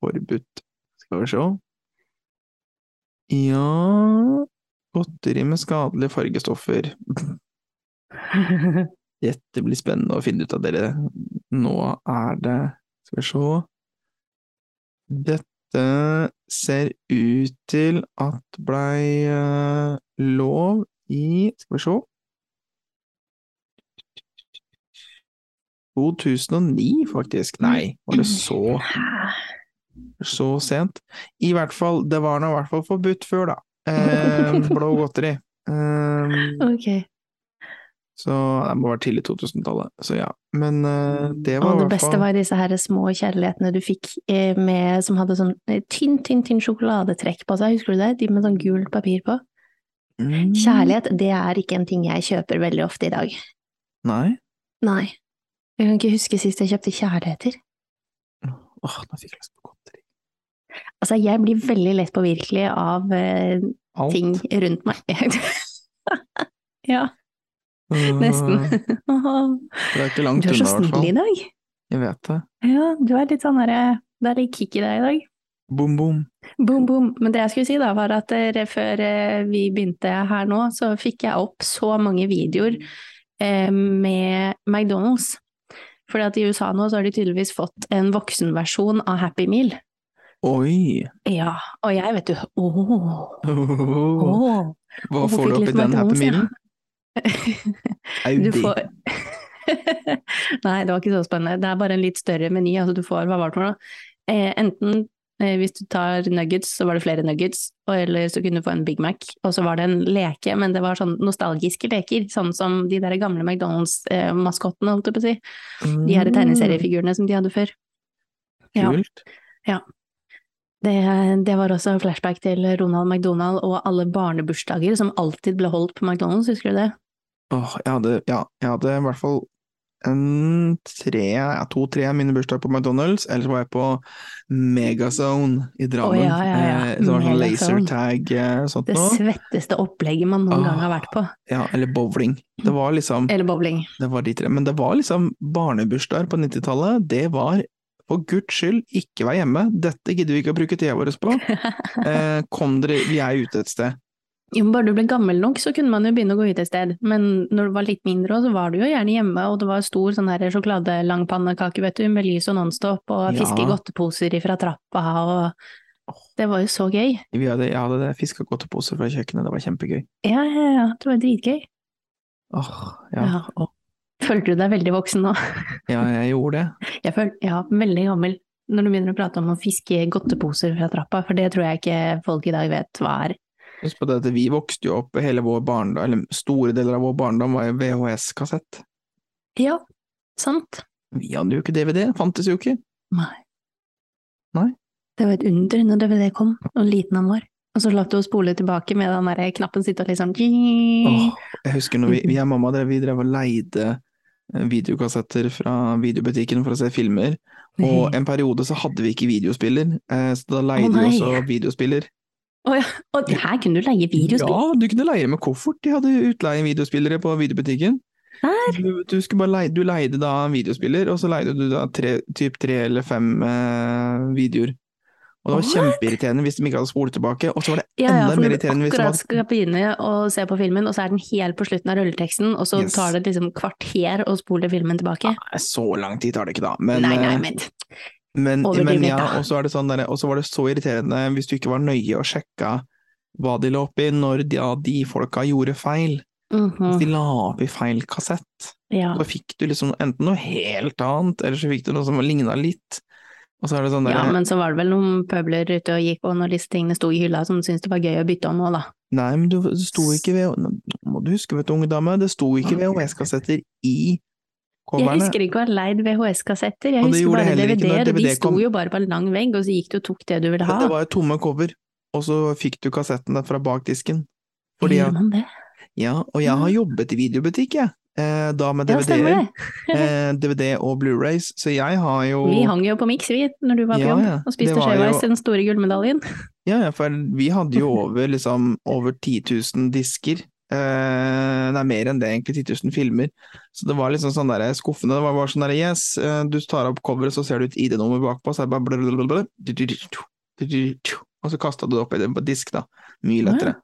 forbudt. Skal vi se. Ja Godteri med skadelige fargestoffer. Dette blir spennende å finne ut av dere. Nå er det Skal vi se Dette ser ut til at blei eh, lov i Skal vi se 2009, faktisk. Nei, var det så, Hæ? så sent? I hvert fall, det var nå i hvert fall forbudt før, da. Eh, blå godteri. Eh, ok. så det må ha vært tidlig 2000-tallet. Så ja. Men eh, det var Mm. Og i det hvert beste fall- var disse her små kjærlighetene du fikk eh, med, som hadde sånn eh, tynn, tynn, tynn sjokoladetrekk på seg. Husker du det? De med sånn gult papir på. Mm, Kjærlighet, det er ikke en ting jeg kjøper veldig ofte i dag. Nei. Nei. Jeg kan ikke huske sist jeg kjøpte kjærligheter. Åh, nå fikk jeg lyst på godteri. Altså, jeg blir veldig lett påvirkelig av eh, Alt. ting rundt meg. ja, Øh, nesten. Det er ikke langt Du er unna, så i hvert snill i fall. dag. Jeg vet det. Ja, du er litt sånn herre Det er litt kick i deg i dag. Boom, boom. Boom, boom. Men det jeg skulle si da, var at eh, før eh, vi begynte her nå, så fikk jeg opp så mange videoer eh, med McDonald's. Fordi at i USA nå så har de tydeligvis fått en voksenversjon av Happy Meal. Oi! Ja, og jeg vet du, åh, åh. Hva Hvorfor får du fikk oppi litt den happy McDonald's, ja? mealen? Du Audi. får... Nei, det var ikke så spennende. Det er bare en litt større meny. Altså, du får hva var det for noe? Eh, enten eh, hvis du tar nuggets, så var det flere nuggets, og, eller så kunne du få en Big Mac. Og så var det en leke, men det var sånn nostalgiske leker, sånn som de der gamle McDonald's-maskottene, holdt jeg på å si. De her tegneseriefigurene som de hadde før. Ja. Mm, Kult. Det, det var også flashback til Ronald McDonald og alle barnebursdager som alltid ble holdt på McDonald's, husker du det? Åh, jeg hadde, ja, jeg hadde i hvert fall en tre, ja, to-tre av mine bursdager på McDonald's, ellers var jeg på Megazone i Drammen. Å, ja, ja, ja. eh, Det var sånn Megazone. lasertag eh, sånt Det noe. svetteste opplegget man noen Åh. gang har vært på. Ja, eller bowling. Det var liksom, Eller bowling. det var de tre. Men det var liksom barnebursdager på 90-tallet. Det var for guds skyld ikke vær hjemme. Dette gidder vi ikke å bruke tida vår på. Eh, kom dere, vi er ute et sted. Jo, men bare du ble gammel nok, så kunne man jo begynne å gå ut et sted. Men når du var litt mindre, også, så var du jo gjerne hjemme, og det var stor sånn her sjokoladelangpannekake, vet du, med lys og nonstop, og Ja. fiske i godteposer ifra trappa, og det var jo så gøy. Vi hadde, jeg hadde fiska godtepose fra kjøkkenet, det var kjempegøy. Ja, ja, ja, det var dritgøy. Åh, ja. Ja. Følte du deg veldig voksen nå? ja, jeg gjorde det. Jeg følte, ja, veldig gammel. Når du begynner å prate om å fiske i godteposer fra trappa, for det tror jeg ikke folk i dag vet hva er. Husk på det at vi vokste jo opp hele vår barndom, eller store deler av vår barndom var jo VHS-kassett. Ja, sant. Vi hadde jo ikke DVD, fantes jo ikke. Nei. Nei. Det var et under når DVD kom, og liten han var. Og så lot du å spole tilbake med den der knappen sitt og liksom Åh, jeg husker når vi, vi og mamma drev, vi drev og leide eh, videokassetter fra videobutikken for å se filmer, og en periode så hadde vi ikke videospiller, eh, så da leide vi nei. også videospiller. Og det her kunne du leie videospill Ja, du kunne leie med koffert, de hadde utleie videospillere på videobutikken. her! Du, du, skulle bare leie, du leide da en videospiller, og så leide du da tre, typ tre eller fem eh, videoer. Og det var What? kjempeirriterende hvis de ikke hadde spolet tilbake, og så var det Ja, ja, enda mer for når du irriterende hvis de akkurat hadde skal begynne å se på filmen, og så er den helt på slutten av rulleteksten, og så Yes. tar det liksom kvarter å spole filmen tilbake. Nei, ah, Så lang tid tar det ikke, da. Men, nei, nei, eh, men men, Overdriv men litt, ja, da. og så er det sånn derre- og så var det så irriterende hvis du ikke var nøye og sjekka hva de la oppi, når de, ja, de folka gjorde feil. Hvis Mhm, de la oppi feil kassett. Ja. Da fikk du liksom enten noe helt annet, eller så fikk du noe som ligna litt. Og så er det sånn derre ja, men så var det vel noen pøbler ute og gikk, og når disse tingene sto i hylla, som syntes det var gøy å bytte om òg, da. Nei, men du, det sto ikke ved Nå må du huske, vet du, unge dame, det sto ikke VHS-kassetter i Jeg coverne. husker ikke å ha leid VHS-kassetter, jeg Og det husker gjorde bare heller ikke når DVD-er, og de DVD sto kom. jo bare på en lang vegg, og så gikk du og tok det du ville ha. Det var jo tomme cover, og så fikk du kassetten der fra bak disken. Fordi Gjør at, man det? ja, og jeg har jobbet i videobutikk, jeg. Eh, da med Ja, stemmer DVD-er, det. eh, DVD og Blu-rays, så jeg har jo Vi hang jo på Mix, vi, når du var på Ja, jobb, ja. og spiste Det var skjevveis jo- den store gullmedaljen. Ja, ja, for vi hadde jo over, liksom, over 10 000 disker. Eh, nei, mer enn det, egentlig. 10 000 filmer. Så det var liksom sånn der skuffende. Det var bare sånn der Yes, eh, du tar opp coveret, så ser du et ID-nummer bakpå, så er det bare blablabla, du-du-du-du, du-du-du-du. Og så kasta du det opp i det på disk, da. Mye lettere.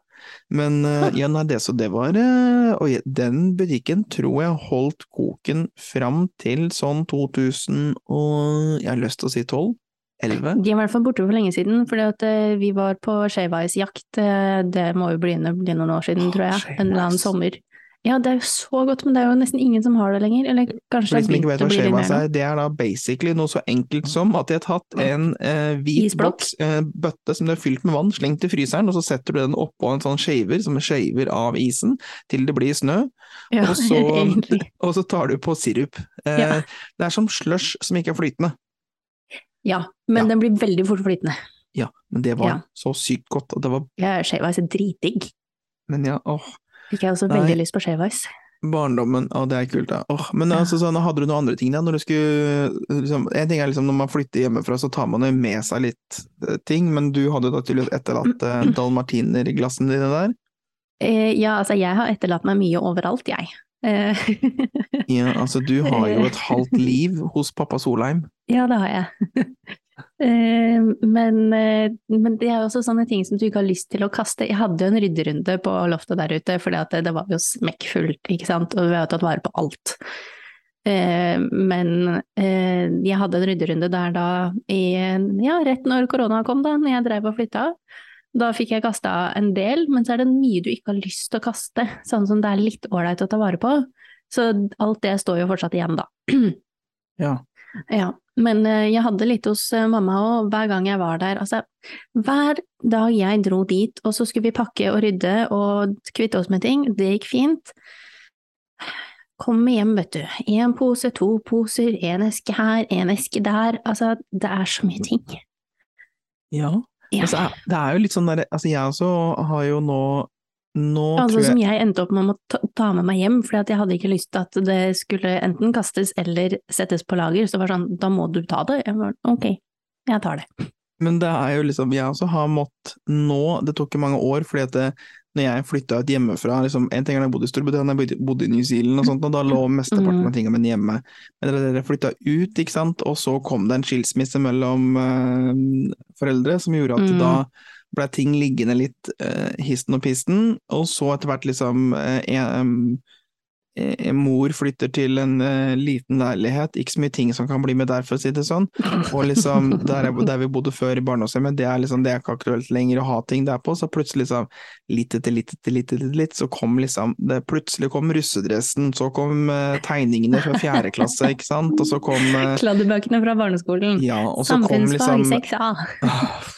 Men eh, ja, nei, det så det var eh, Og jeg- den butikken tror jeg holdt koken fram til sånn 2000 og Jeg har lyst til å si 12? 11? De er i hvert fall borte for lenge siden, fordi at eh, vi var på skjevveisjakt, eh, det må jo begynne å bli noen år siden, Åh, tror jeg, en eller annen skjevveis. sommer. Ja, det er jo så godt, men det er jo nesten ingen som har det lenger, eller kanskje For det de som har ikke vet begynt hva å bli litt skjema mer nå. er, det er da basically noe så enkelt som at de har tatt en eh, hvit Isblokk. boks, eh, bøtte som de har fylt med vann, slengt i fryseren, og så setter du den oppå en sånn shaver, som skjæver av isen, til det blir snø, Ja, og så- egentlig. og så tar du på sirup. Eh, Ja. Det er som slush som ikke er flytende, Ja, men Ja. den blir veldig fort flytende. men det var Ja. så sykt godt, og det var Ja, skjevveis er dritdigg. Men ja, åh, Fikk jeg også Nei. veldig lyst på skjevveis. barndommen, å det er kult, da. Åh, men Ja. altså sånn, hadde du noen andre ting da, når du skulle liksom, En ting er liksom når man flytter hjemmefra, så tar man jo med seg litt eh, ting, men du hadde jo da tydeligvis etterlatt eh, dalmatiner i glassene dine der. Eh, ja, altså jeg har etterlatt meg mye overalt, jeg. Eh, Ja, altså du har jo et halvt liv hos pappa Solheim. ja, det har jeg. Eh, men, eh, men det er jo også sånne ting som du ikke har lyst til å kaste. Jeg hadde jo en rydderunde på loftet der ute, for det, det var jo smekkfullt, ikke sant, og vi har jo tatt vare på alt. Eh, Men eh, jeg hadde en rydderunde der da, i, ja, rett når korona kom, da, når jeg dreiv og flytta. Da fikk jeg kasta en del, men så er det mye du ikke har lyst til å kaste, sånn som det er litt ålreit å ta vare på. Så alt det står jo fortsatt igjen, da. Ja. Ja, men eh, jeg hadde litt hos eh, mamma òg, hver gang jeg var der. Altså, hver dag jeg dro dit, og så skulle vi pakke og rydde og kvitte oss med ting, det gikk fint. Kom hjem, vet du. Én pose, to poser, én eske her, én eske der. Altså, det er så mye ting. Ja. Ja. Altså, er- det er jo litt sånn der, altså jeg også har jo nå Nå Altså tror jeg som jeg endte opp med å må ta- ta med meg hjem, fordi at jeg hadde ikke lyst til at det skulle enten kastes eller settes på lager. Så det var sånn, da må du ta det. Jeg var, sånn, ok, jeg tar det. Men det er jo liksom Jeg også har mått nå Det tok jo mange år, fordi at det, når jeg flytta ut hjemmefra liksom, En ting er da jeg bodde i Storbritannia, jeg bodde- bodde i New Zealand og sånt, og da lå mesteparten av tingene mine hjemme. Men da dere flytta ut, ikke sant, og så kom det en skilsmisse mellom eh, foreldre som gjorde at Mm. da blei ting liggende litt eh, histen og pisten, og så etter hvert liksom eh, en, eh, mor flytter til en eh, liten leilighet, ikke så mye ting som kan bli med der, for å si det sånn. Og liksom, der, jeg, der vi bodde før i barndomshjemmet, det er liksom, det er ikke aktuelt lenger å ha ting der på, så plutselig liksom, litt etter litt etter litt etter litt, så kom liksom, det, plutselig kom russedressen, så kom eh, tegningene fra fjerde klasse, ikke sant, og så kom eh, Kladdebøkene fra barneskolen. ja, og så kom Samfunnsfag liksom 6A.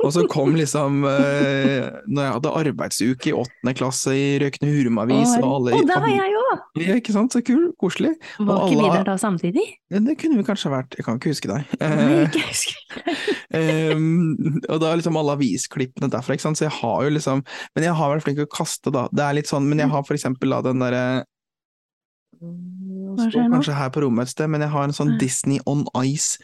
og så kom liksom eh, Når jeg hadde arbeidsuke i åttende klasse i Røykne Hurum-avis Å, og alle Å, der var jeg òg! Ja, ikke sant? Så kul, koselig. Var Og ikke vi alle- der da samtidig? Men Det kunne vi kanskje ha vært, jeg kan ikke huske deg. Nei, Eh, ikke jeg husker. Ehm, og da er liksom alle avisklippene derfra, ikke sant. Så jeg har jo liksom Men jeg har vært flink til å kaste, da. Det er litt sånn, Mm. men jeg har for eksempel da den derre Hva Står skjer nå? kanskje her på rommet et sted, men jeg har en sånn Disney on Ice.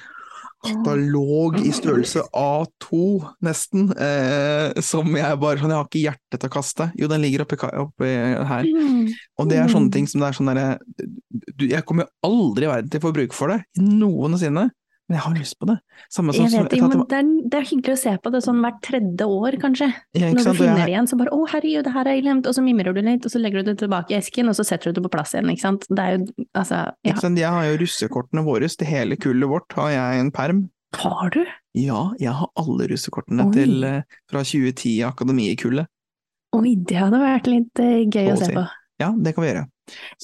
Katalog i størrelse A2, nesten, eh, som jeg bare sånn, Jeg har ikke hjerte til å kaste. Jo, den ligger oppi, ka- oppi her. Mm. Og det er sånne Mm. ting som det er sånn derre du- Jeg kommer aldri i verden til å få bruk for det, noensinne, men jeg har lyst på det. Samme som Jeg som- vet, jo, men det er, det er hyggelig å se på det sånn hvert tredje år, kanskje. Ja, ikke Når du sant? Og finner jeg- det igjen, så bare 'å, herregud, det her er glemt', og så mimrer du litt, og så legger du det tilbake i esken, og så setter du det på plass igjen, ikke sant. Det er jo, altså, ja. Ikke sant? Jeg har jo russekortene våre til hele kullet vårt, har jeg en perm. Har du? Ja, jeg har alle russekortene Oi. til, eh, fra 2010 i akademikullet. Oi, det hadde vært litt eh, Av gøy å og se til. på. Ja, det kan vi gjøre.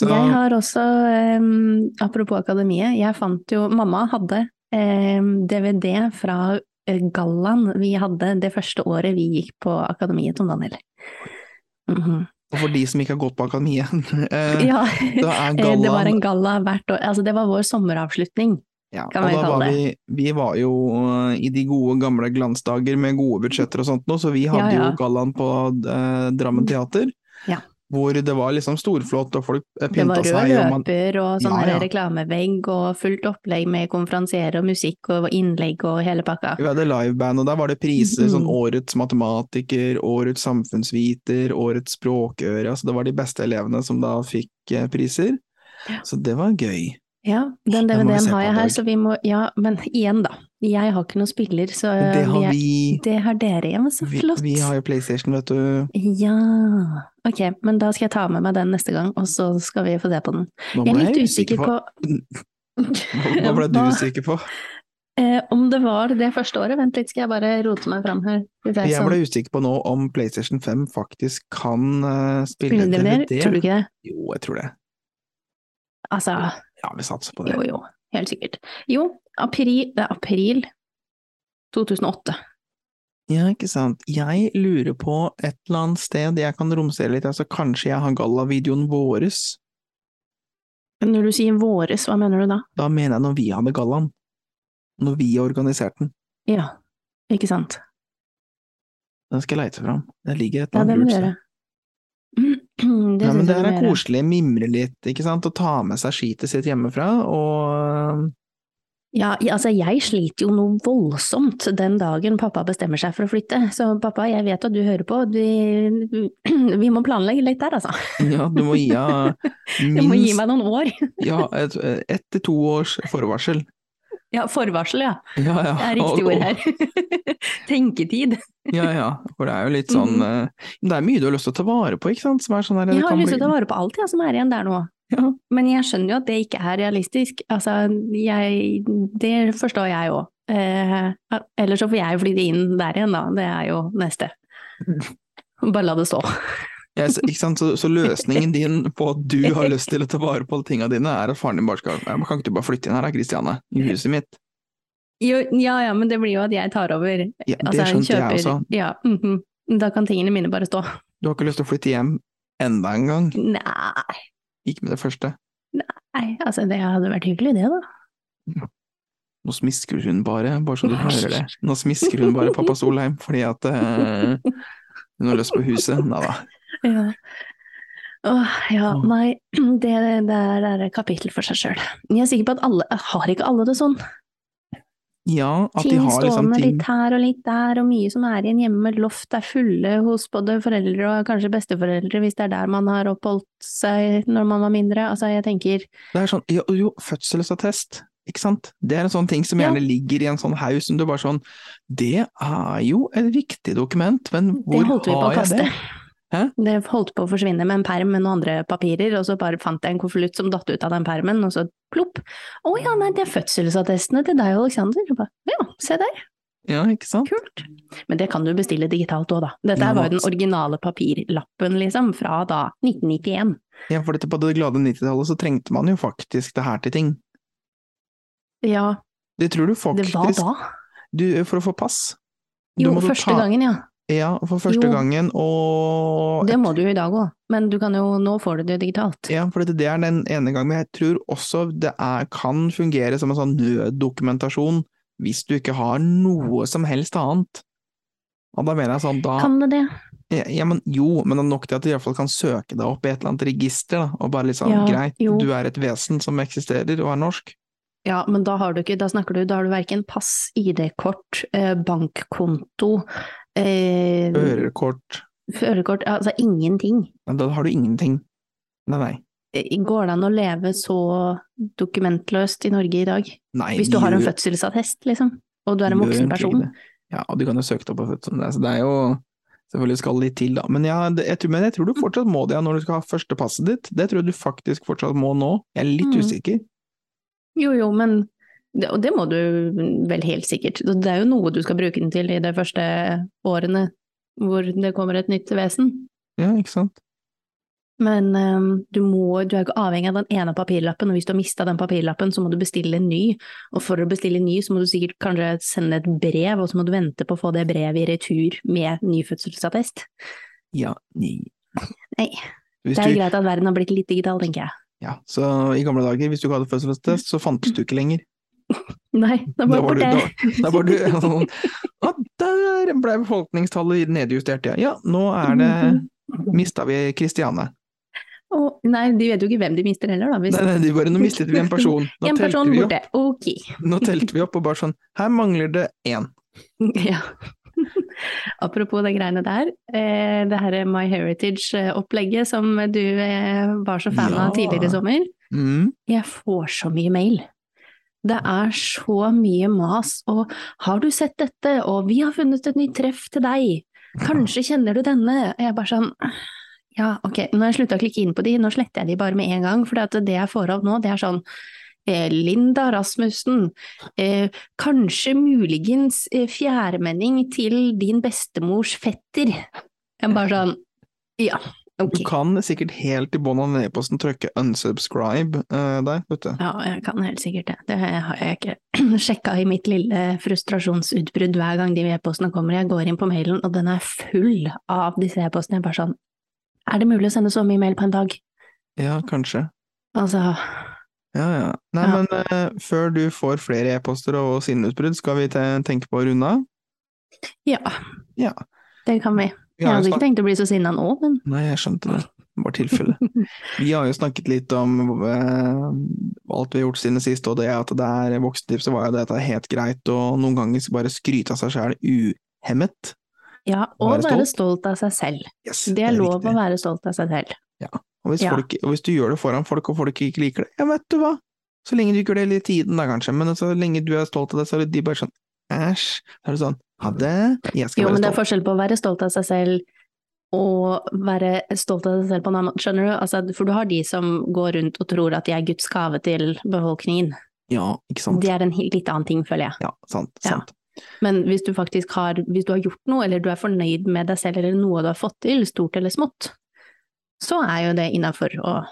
Så Jeg har også, em, apropos akademiet, jeg fant jo Mamma hadde eh, em, DVD fra eh, gallaen vi hadde det første året vi gikk på akademiet, Tom Daniel. Mhm. og for de som ikke har gått på akademiet, eh, da Ja, er eh, det var gallaen en galla hvert år. Altså, det var vår sommeravslutning. ja, kan og vi da kalle var det. vi, vi var jo eh, i de gode gamle glansdager med gode budsjetter og sånt nå, så vi hadde Ja, ja. jo gallaen på eh, Drammen Teater. Ja. Hvor det var liksom storflott, og folk eh, Det var pynta rød seg. og man- løper og sånn Ja, her ja. reklamevegg og fullt opplegg med konferansiere og musikk og innlegg og hele pakka. Vi hadde liveband, og der var det priser Mhm. sånn Årets matematiker, Årets samfunnsviter, Årets språkøre. Altså det var de beste elevene som da fikk eh, priser. Ja. Så det var gøy. Ja, Den må den vi DVD-en se har på jeg en her, dag. så vi må Ja, men igjen, da. Jeg har ikke noen spiller, så Men det vi har er- vi Det har dere, ja, men så vi, Eh, flott. vi har jo PlayStation, vet du. Ja. Ok, men da skal jeg ta med meg den neste gang, og så skal vi få se på den. Nå Jeg er ble litt usikker på Hva ble du Hva- usikker på? eh, om det var det første året. Vent litt, skal jeg bare rote meg fram her. Skal vi se, Jeg sånn. ble usikker på nå om PlayStation 5 faktisk kan eh, spille Spiller dere? DVD. Tror du ikke det? Jo, jeg tror det. Altså, Ja, vi satser på det. jo jo, helt sikkert. Jo, april, det er april 2008. Ja, ikke sant. Jeg lurer på et eller annet sted jeg kan romstere litt, altså kanskje jeg har gallavideoen våres. Når du sier våres, hva mener du da? Da mener jeg når vi hadde gallaen. Når vi organiserte den. Ja, ikke sant? Den skal jeg leite fram. Det ligger et Ja, eller det annet må lurt du sted. gjøre. Det Nei, syns men jeg det du er må gjøre. koselig, mimre litt, ikke sant, og ta med seg skitet sitt hjemmefra, og Ja, ja, altså jeg sliter jo noe voldsomt den dagen pappa bestemmer seg for å flytte. Så pappa, jeg vet at du hører på, vi, vi må planlegge litt der altså. ja, du må gi av Du må gi minst meg noen år. ja, et, et til to års forvarsel. Ja, forvarsel, ja. Ja, ja. Det er riktig Og- ord her. Tenketid. Ja, ja. For det er jo litt sånn eh, Det er mye du har lyst til å ta vare på, ikke sant? Som er sånn her, Mm. Jeg har lyst til å ta vare på alt jeg som er igjen der nå. Ja. Men jeg skjønner jo at det ikke er realistisk. Altså, jeg, det forstår jeg òg. Eh, ellers så får jeg jo flytte inn der igjen, da. Det er jo neste. Bare la det stå. Ja, så- ikke sant? Så, så løsningen din på at du har lyst til å ta vare på alle tinga dine, er at faren din bare skal ja, men Kan ikke du bare flytte inn her da, Kristiane? I huset mitt? Jo, ja ja, men det blir jo at jeg tar over. Ja, det Altså, skjønte jeg også. Ja, mhm. Da kan tingene mine bare stå. Du har ikke lyst til å flytte hjem enda en gang? Nei, Ikke med det første. altså det hadde vært hyggelig det, da. Nå smisker hun bare, bare så du hører det. Nå smisker hun bare pappa Solheim fordi at eh, hun har lyst på huset. Nei da. Ja. Åh, ja, Åh. nei, det, det er det er et kapittel for seg sjøl. Jeg er sikker på at alle, har ikke alle det sånn? Ja, at de ting har liksom stående ting litt her og litt der, og mye som er igjen hjemme. Loft er fulle hos både foreldre og kanskje besteforeldre, hvis det er der man har oppholdt seg når man var mindre. Altså, jeg tenker Det er sånn, jo, jo fødselsattest, ikke sant? Det er en sånn ting som Ja. gjerne ligger i en sånn haug som du bare sånn Det er jo et viktig dokument, men hvor Det holdt vi på å har jeg kaste. det? Hæ? Det holdt på å forsvinne med en perm med noen andre papirer, og så bare fant jeg en konvolutt som datt ut av den permen, og så plopp. Å ja, nei, det er fødselsattestene til deg og Aleksander. Jeg bare, Ja, se der, Ja, ikke sant? kult. Men det kan du bestille digitalt òg, da. Dette Ja, her var jo den altså. originale papirlappen, liksom, fra da 1991. Ja, for dette på det glade 90-tallet så trengte man jo faktisk det her til ting. Ja, Det tror du det var faktisk da. du, For å få pass. Du Jo, måtte første ta- gangen, ja. Ja, for første Jo. gangen, og Det må du jo i dag òg, men du kan jo, nå får du det digitalt. Ja, for dette, det er den ene gangen, men jeg tror også det er, kan fungere som en sånn nøddokumentasjon hvis du ikke har noe som helst annet. Og da mener jeg sånn, da Kan det det? ja, ja, men Jo, men det er nok til at du i hvert fall kan søke deg opp i et eller annet register, da, og bare liksom Ja, greit, jo. du er et vesen som eksisterer og er norsk. Ja, men da har du ikke, da snakker du, da har du verken pass, ID-kort, eh, bankkonto, eh, Førerkort førerkort, altså ingenting. Nei, Da har du ingenting. Nei, nei. Eh, Går det an å leve så dokumentløst i Norge i dag? nei Hvis de du har en gjør- fødselsattest, liksom, og du er en gjør voksen egentlig person? ikke det. Ja, og du kan jo søke deg opp på fødselen, der, så det er jo Selvfølgelig skal det litt til, da. Men, ja, det, jeg, tror, men jeg tror Mm. du fortsatt må det ja, når du skal ha første passet ditt. Det tror jeg du faktisk fortsatt må nå. Jeg er litt Mm. usikker. Jo, jo, men det, og det må du vel helt sikkert. Det er jo noe du skal bruke den til i de første årene hvor det kommer et nytt vesen. Ja, ikke sant? Men eh, du, må, du er ikke avhengig av den ene papirlappen, og hvis du har mista den papirlappen, så må du bestille en ny. Og for å bestille en ny, så må du sikkert kanskje sende et brev, og så må du vente på å få det brevet i retur med nyfødselsattest. Ja, nei. Nei. Hvis Det er jo du, greit at verden har blitt litt digital, tenker jeg. ja, så i gamle dager, hvis du ikke hadde fødselstest, så fantes du ikke lenger. Nei, det Da er bare var du- borte. Da var du sånn Å, der ble befolkningstallet nedjustert, ja. Ja, nå er det Mm. Mista vi Kristiane? Og, nei, de vet jo ikke hvem de mister heller, da. Hvis Nei, nei, det var, nå mistet vi en person. Nå en telte person vi opp, borte. Ok. nå telte vi opp og bare sånn Her mangler det én. Ja. Apropos de greiene der, eh, det her My Heritage-opplegget som du eh, var så fan av Ja. tidligere i sommer. Mm. Jeg får så mye mail. Det er så mye mas og 'har du sett dette', og 'vi har funnet et nytt treff til deg', 'kanskje kjenner du denne', og jeg bare sånn ja, ok, nå har jeg slutta å klikke inn på de, nå sletter jeg de bare med en gang, for det jeg får opp nå, det er sånn eh, Linda Rasmussen, eh, kanskje muligens eh, fjærmenning til din bestemors fetter. Jeg bare sånn ja, ok. Du kan sikkert helt i bånn av nedposten trykke 'unsubscribe' eh, der, vet du. Ja, jeg kan helt sikkert det. Det har jeg ikke sjekka i mitt lille frustrasjonsutbrudd hver gang de e-postene kommer. Jeg går inn på mailen, og den er full av disse e-postene. Jeg er bare sånn Er det mulig å sende så mye mail på en dag? Ja, kanskje. Altså Ja, ja. Nei, Ja. men eh, før du får flere e-poster og sinneutbrudd, skal vi te tenke på å runde av? Ja. Ja. Det kan vi. Vi Jeg har jo hadde ikke snak- tenkt å bli så sinna nå, men Nei, jeg skjønte det. Det var tilfelle. Vi har jo snakket litt om eh, alt vi har gjort siden sist, og det at det er voksentips, så var jo dette helt greit, og noen ganger skal bare skryte av seg sjæl uhemmet. ja. Og Være være stolt av seg selv. Yes, Det er lov viktig. å være stolt av seg selv. Og hvis, Ja. folk, og hvis du gjør det foran folk, og folk ikke liker det, ja, vet du hva, Så lenge du ikke gjør det hele tiden, da kanskje, men så lenge du er stolt av det, så er de bare sånn æsj. Da er det sånn ha det, jeg skal Jo, men det være er stolt. forskjell på å være stolt av seg selv og være stolt av seg selv på en annen måte. Skjønner du? Altså, for du har de som går rundt og tror at de er Guds gave til befolkningen. Ja, ikke sant. Det er en he- litt annen ting, føler jeg. Ja, sant. Ja. sant. Men hvis du faktisk har, hvis du har gjort noe, eller du er fornøyd med deg selv, eller noe du har fått til, stort eller smått, så er jo det innafor å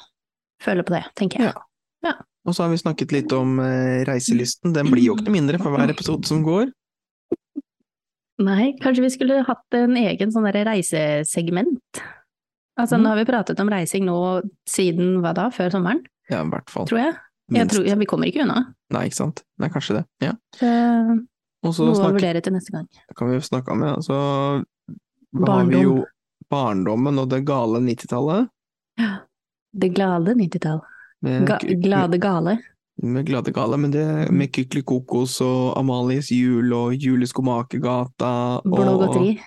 føle på det, tenker jeg. Ja. Og så har vi snakket litt om eh, reiselysten. Den blir jo ikke noe mindre for hver episode som går. Nei, kanskje vi skulle hatt en egen sånn derre reisesegment? Altså, Mm. nå har vi pratet om reising nå siden hva da, før sommeren, Ja, i hvert fall. tror jeg. Jeg Minst. tror, ja, vi kommer ikke unna. Nei, ikke sant. Nei, kanskje det. Ja. Eh, Og så Noe å snakke, vurdere til neste gang. kan vi jo snakke om, ja, så har Barndom. vi jo barndommen og det gale 90-tallet. Det glade 90-tall. Med, Ga glade gale. med glade gale, men det med Kykeli Kokos og Amalies jul og Juleskomakergata og Blå godteri.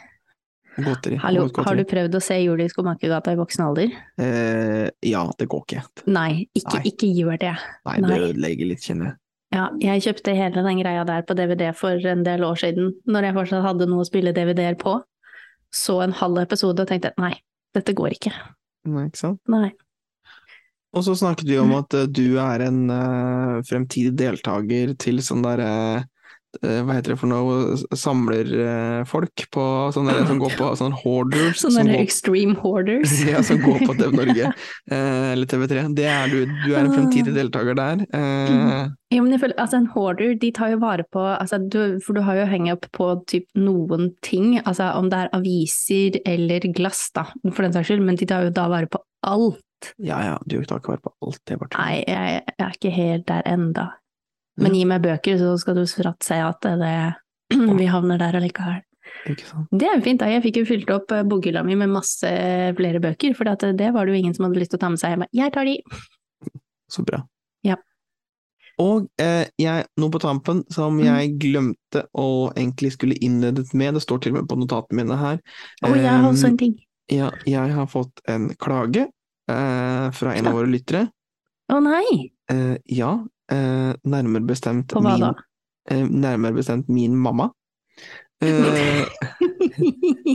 Godteri. Hallo, Blått godteri. har du prøvd å se jul i Skomakergata i voksen alder? eh, Ja, det går ikke. Nei, ikke, Nei. ikke gjør det. Nei, Nei. det ødelegger litt, kjenner jeg. Ja, jeg kjøpte hele den greia der på DVD for en del år siden, når jeg fortsatt hadde noe å spille DVD-er på. Så en halv episode og tenkte nei, dette går ikke. Nei, ikke sant? Nei. Og så snakket vi Mm. om at eh, du er en eh, fremtidig deltaker til sånn der eh, eh, hva heter det for noe, samlerfolk på sånne der som går på sånn hoarders Sånne som der går- extreme hoarders. ja, som går på TV Norge eh, eller TV3. Det er du. Du Ah. er en fremtidig deltaker der. Eh, Ja, men jeg føler, altså En hoarder de tar jo vare på altså du, For du har jo hang-up på typ noen ting. altså Om det er aviser eller glass, da, for den saks skyld. Men de tar jo da vare på alt. ja ja, du tar ikke vare på alt det, Barthe. Nei, jeg, jeg er ikke helt der enda. Men Ja. gi meg bøker, så skal du fratt si at det, vi havner der allikevel. Ikke sant? Det er jo fint, da. Jeg fikk jo fylt opp eh, bokhylla mi med masse flere bøker, for det, det var det jo ingen som hadde lyst til å ta med seg hjem. Jeg tar de! Så bra. Ja. Og eh, jeg, noe på tampen som Mm. jeg glemte og egentlig skulle innledet med, det står til og med på notatene mine her. Og jeg har også Eh, en ting. ja, jeg har fått en klage eh, fra en av våre lyttere. Å nei! Eh, ja, eh, nærmere bestemt På hva min, da? eh, nærmere bestemt min mamma. Eh,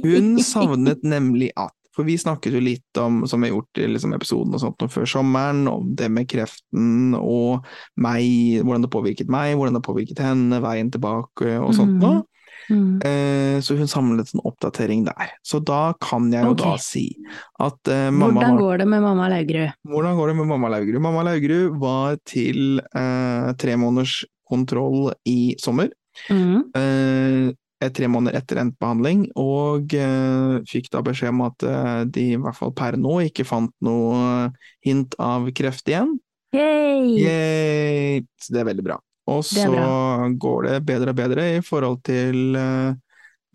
Hun savnet nemlig at For vi snakket jo litt om, som vi har gjort i liksom episoden og sånt nå før sommeren, om det med kreften og meg, hvordan det påvirket meg, hvordan det påvirket henne, veien tilbake og sånt nå. Mm. Eh, Så hun samlet en oppdatering der. Så da kan jeg jo Ok. da si at eh, mamma Hvordan har går det med mamma Laugerud? hvordan går det med mamma Laugerud? Mamma Laugerud var til eh, tre måneders kontroll i sommer. Mm. eh, et tre måneder etter endt behandling, og eh, fikk da beskjed om at eh, de i hvert fall per nå ikke fant noe eh, hint av kreft igjen. Yay! Yay! Så det er veldig bra. Og Mm. Det så er går det bedre og bedre i forhold til eh,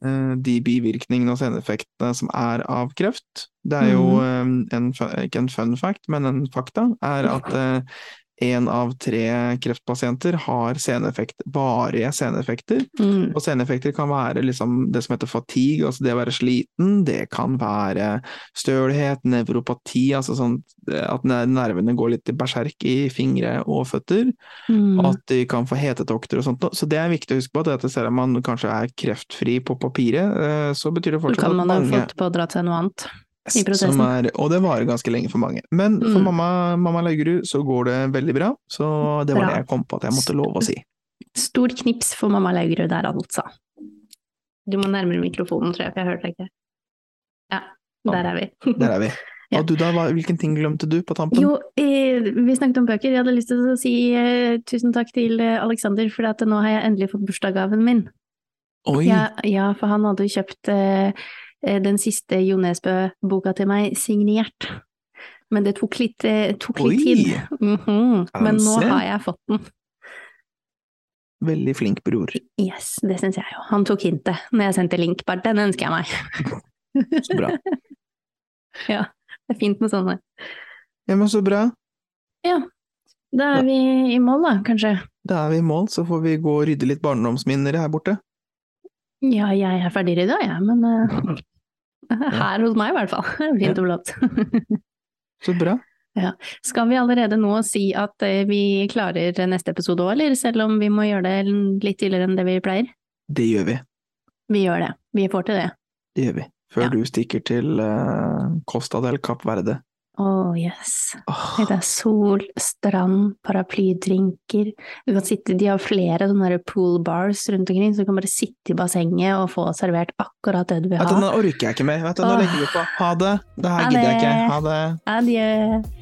eh, de bivirkningene og seneffektene som er av kreft. Det er jo Mm. eh, en, fun- ikke en fun fact, men en fakta, er at én av tre kreftpasienter har seneffekt, varige seneffekter. Mm. Og seneffekter kan være liksom det som heter fatigue, altså det å være sliten. Det kan være stølhet, nevropati, altså sånn at ner- nervene går litt i berserk i fingre og føtter. Mm. At de kan få hetetokter og sånt. Så det er viktig å huske på, at dette selv om man kanskje er kreftfri på papiret, eh, så betyr det Så fortsatt kan at man ha mange fått pådratt seg noe annet. i prosessen. som er, og det varer ganske lenge for mange. Men for Mm. mamma, mamma Laugerud så går det veldig bra, så det var Bra. det jeg kom på at jeg måtte love å si. Stort knips for mamma Laugerud der, altså. Du må nærmere mikrofonen, tror jeg, for jeg hørte deg ikke. Ja, der er vi. Der er vi. Ja. Og du da, hva- hvilken ting glemte du på tampen? Jo, eh, vi snakket om bøker. Jeg hadde lyst til å si eh, tusen takk til eh, Alexander, for at nå har jeg endelig fått bursdagsgaven min. Oi! Ja, ja, for han hadde jo kjøpt eh, eh, den siste Jo Nesbø-boka til meg, signert. Men det tok litt, eh, tok litt Oi. tid. Mhm. Men nå Kanskje. har jeg fått den. Veldig flink bror. Yes, det syns jeg jo. Han tok hintet når jeg sendte link, bare den ønsker jeg meg. Så bra. ja, det er fint med sånne. Ja, men så bra. Da Ja. er vi i mål, da, kanskje. Da er vi i mål, så får vi gå og rydde litt barndomsminner her borte. Mm. Ja, jeg er ferdig i dag, jeg, men eh, her hos meg i hvert fall. Fint og flott. Så bra. Skal vi allerede nå si at eh, vi klarer neste episode òg, eller? Selv om vi må gjøre det litt tidligere enn det vi pleier? Det gjør vi. Vi gjør det. Vi får til det. Det gjør vi. Før Ja. du stikker til eh, Costa del Cap Verde. Oh yes. Åh, Det er sol, strand, paraplydrinker. Du kan sitte, de har flere sånne der pool bars rundt omkring, så du kan bare sitte i bassenget og få servert akkurat det du vil vet du, ha. nå orker jeg ikke mer. Vet du, nå Åh. legger vi på. Ha det. Det her Ha gidder jeg det. ikke. Ha det. Adjø.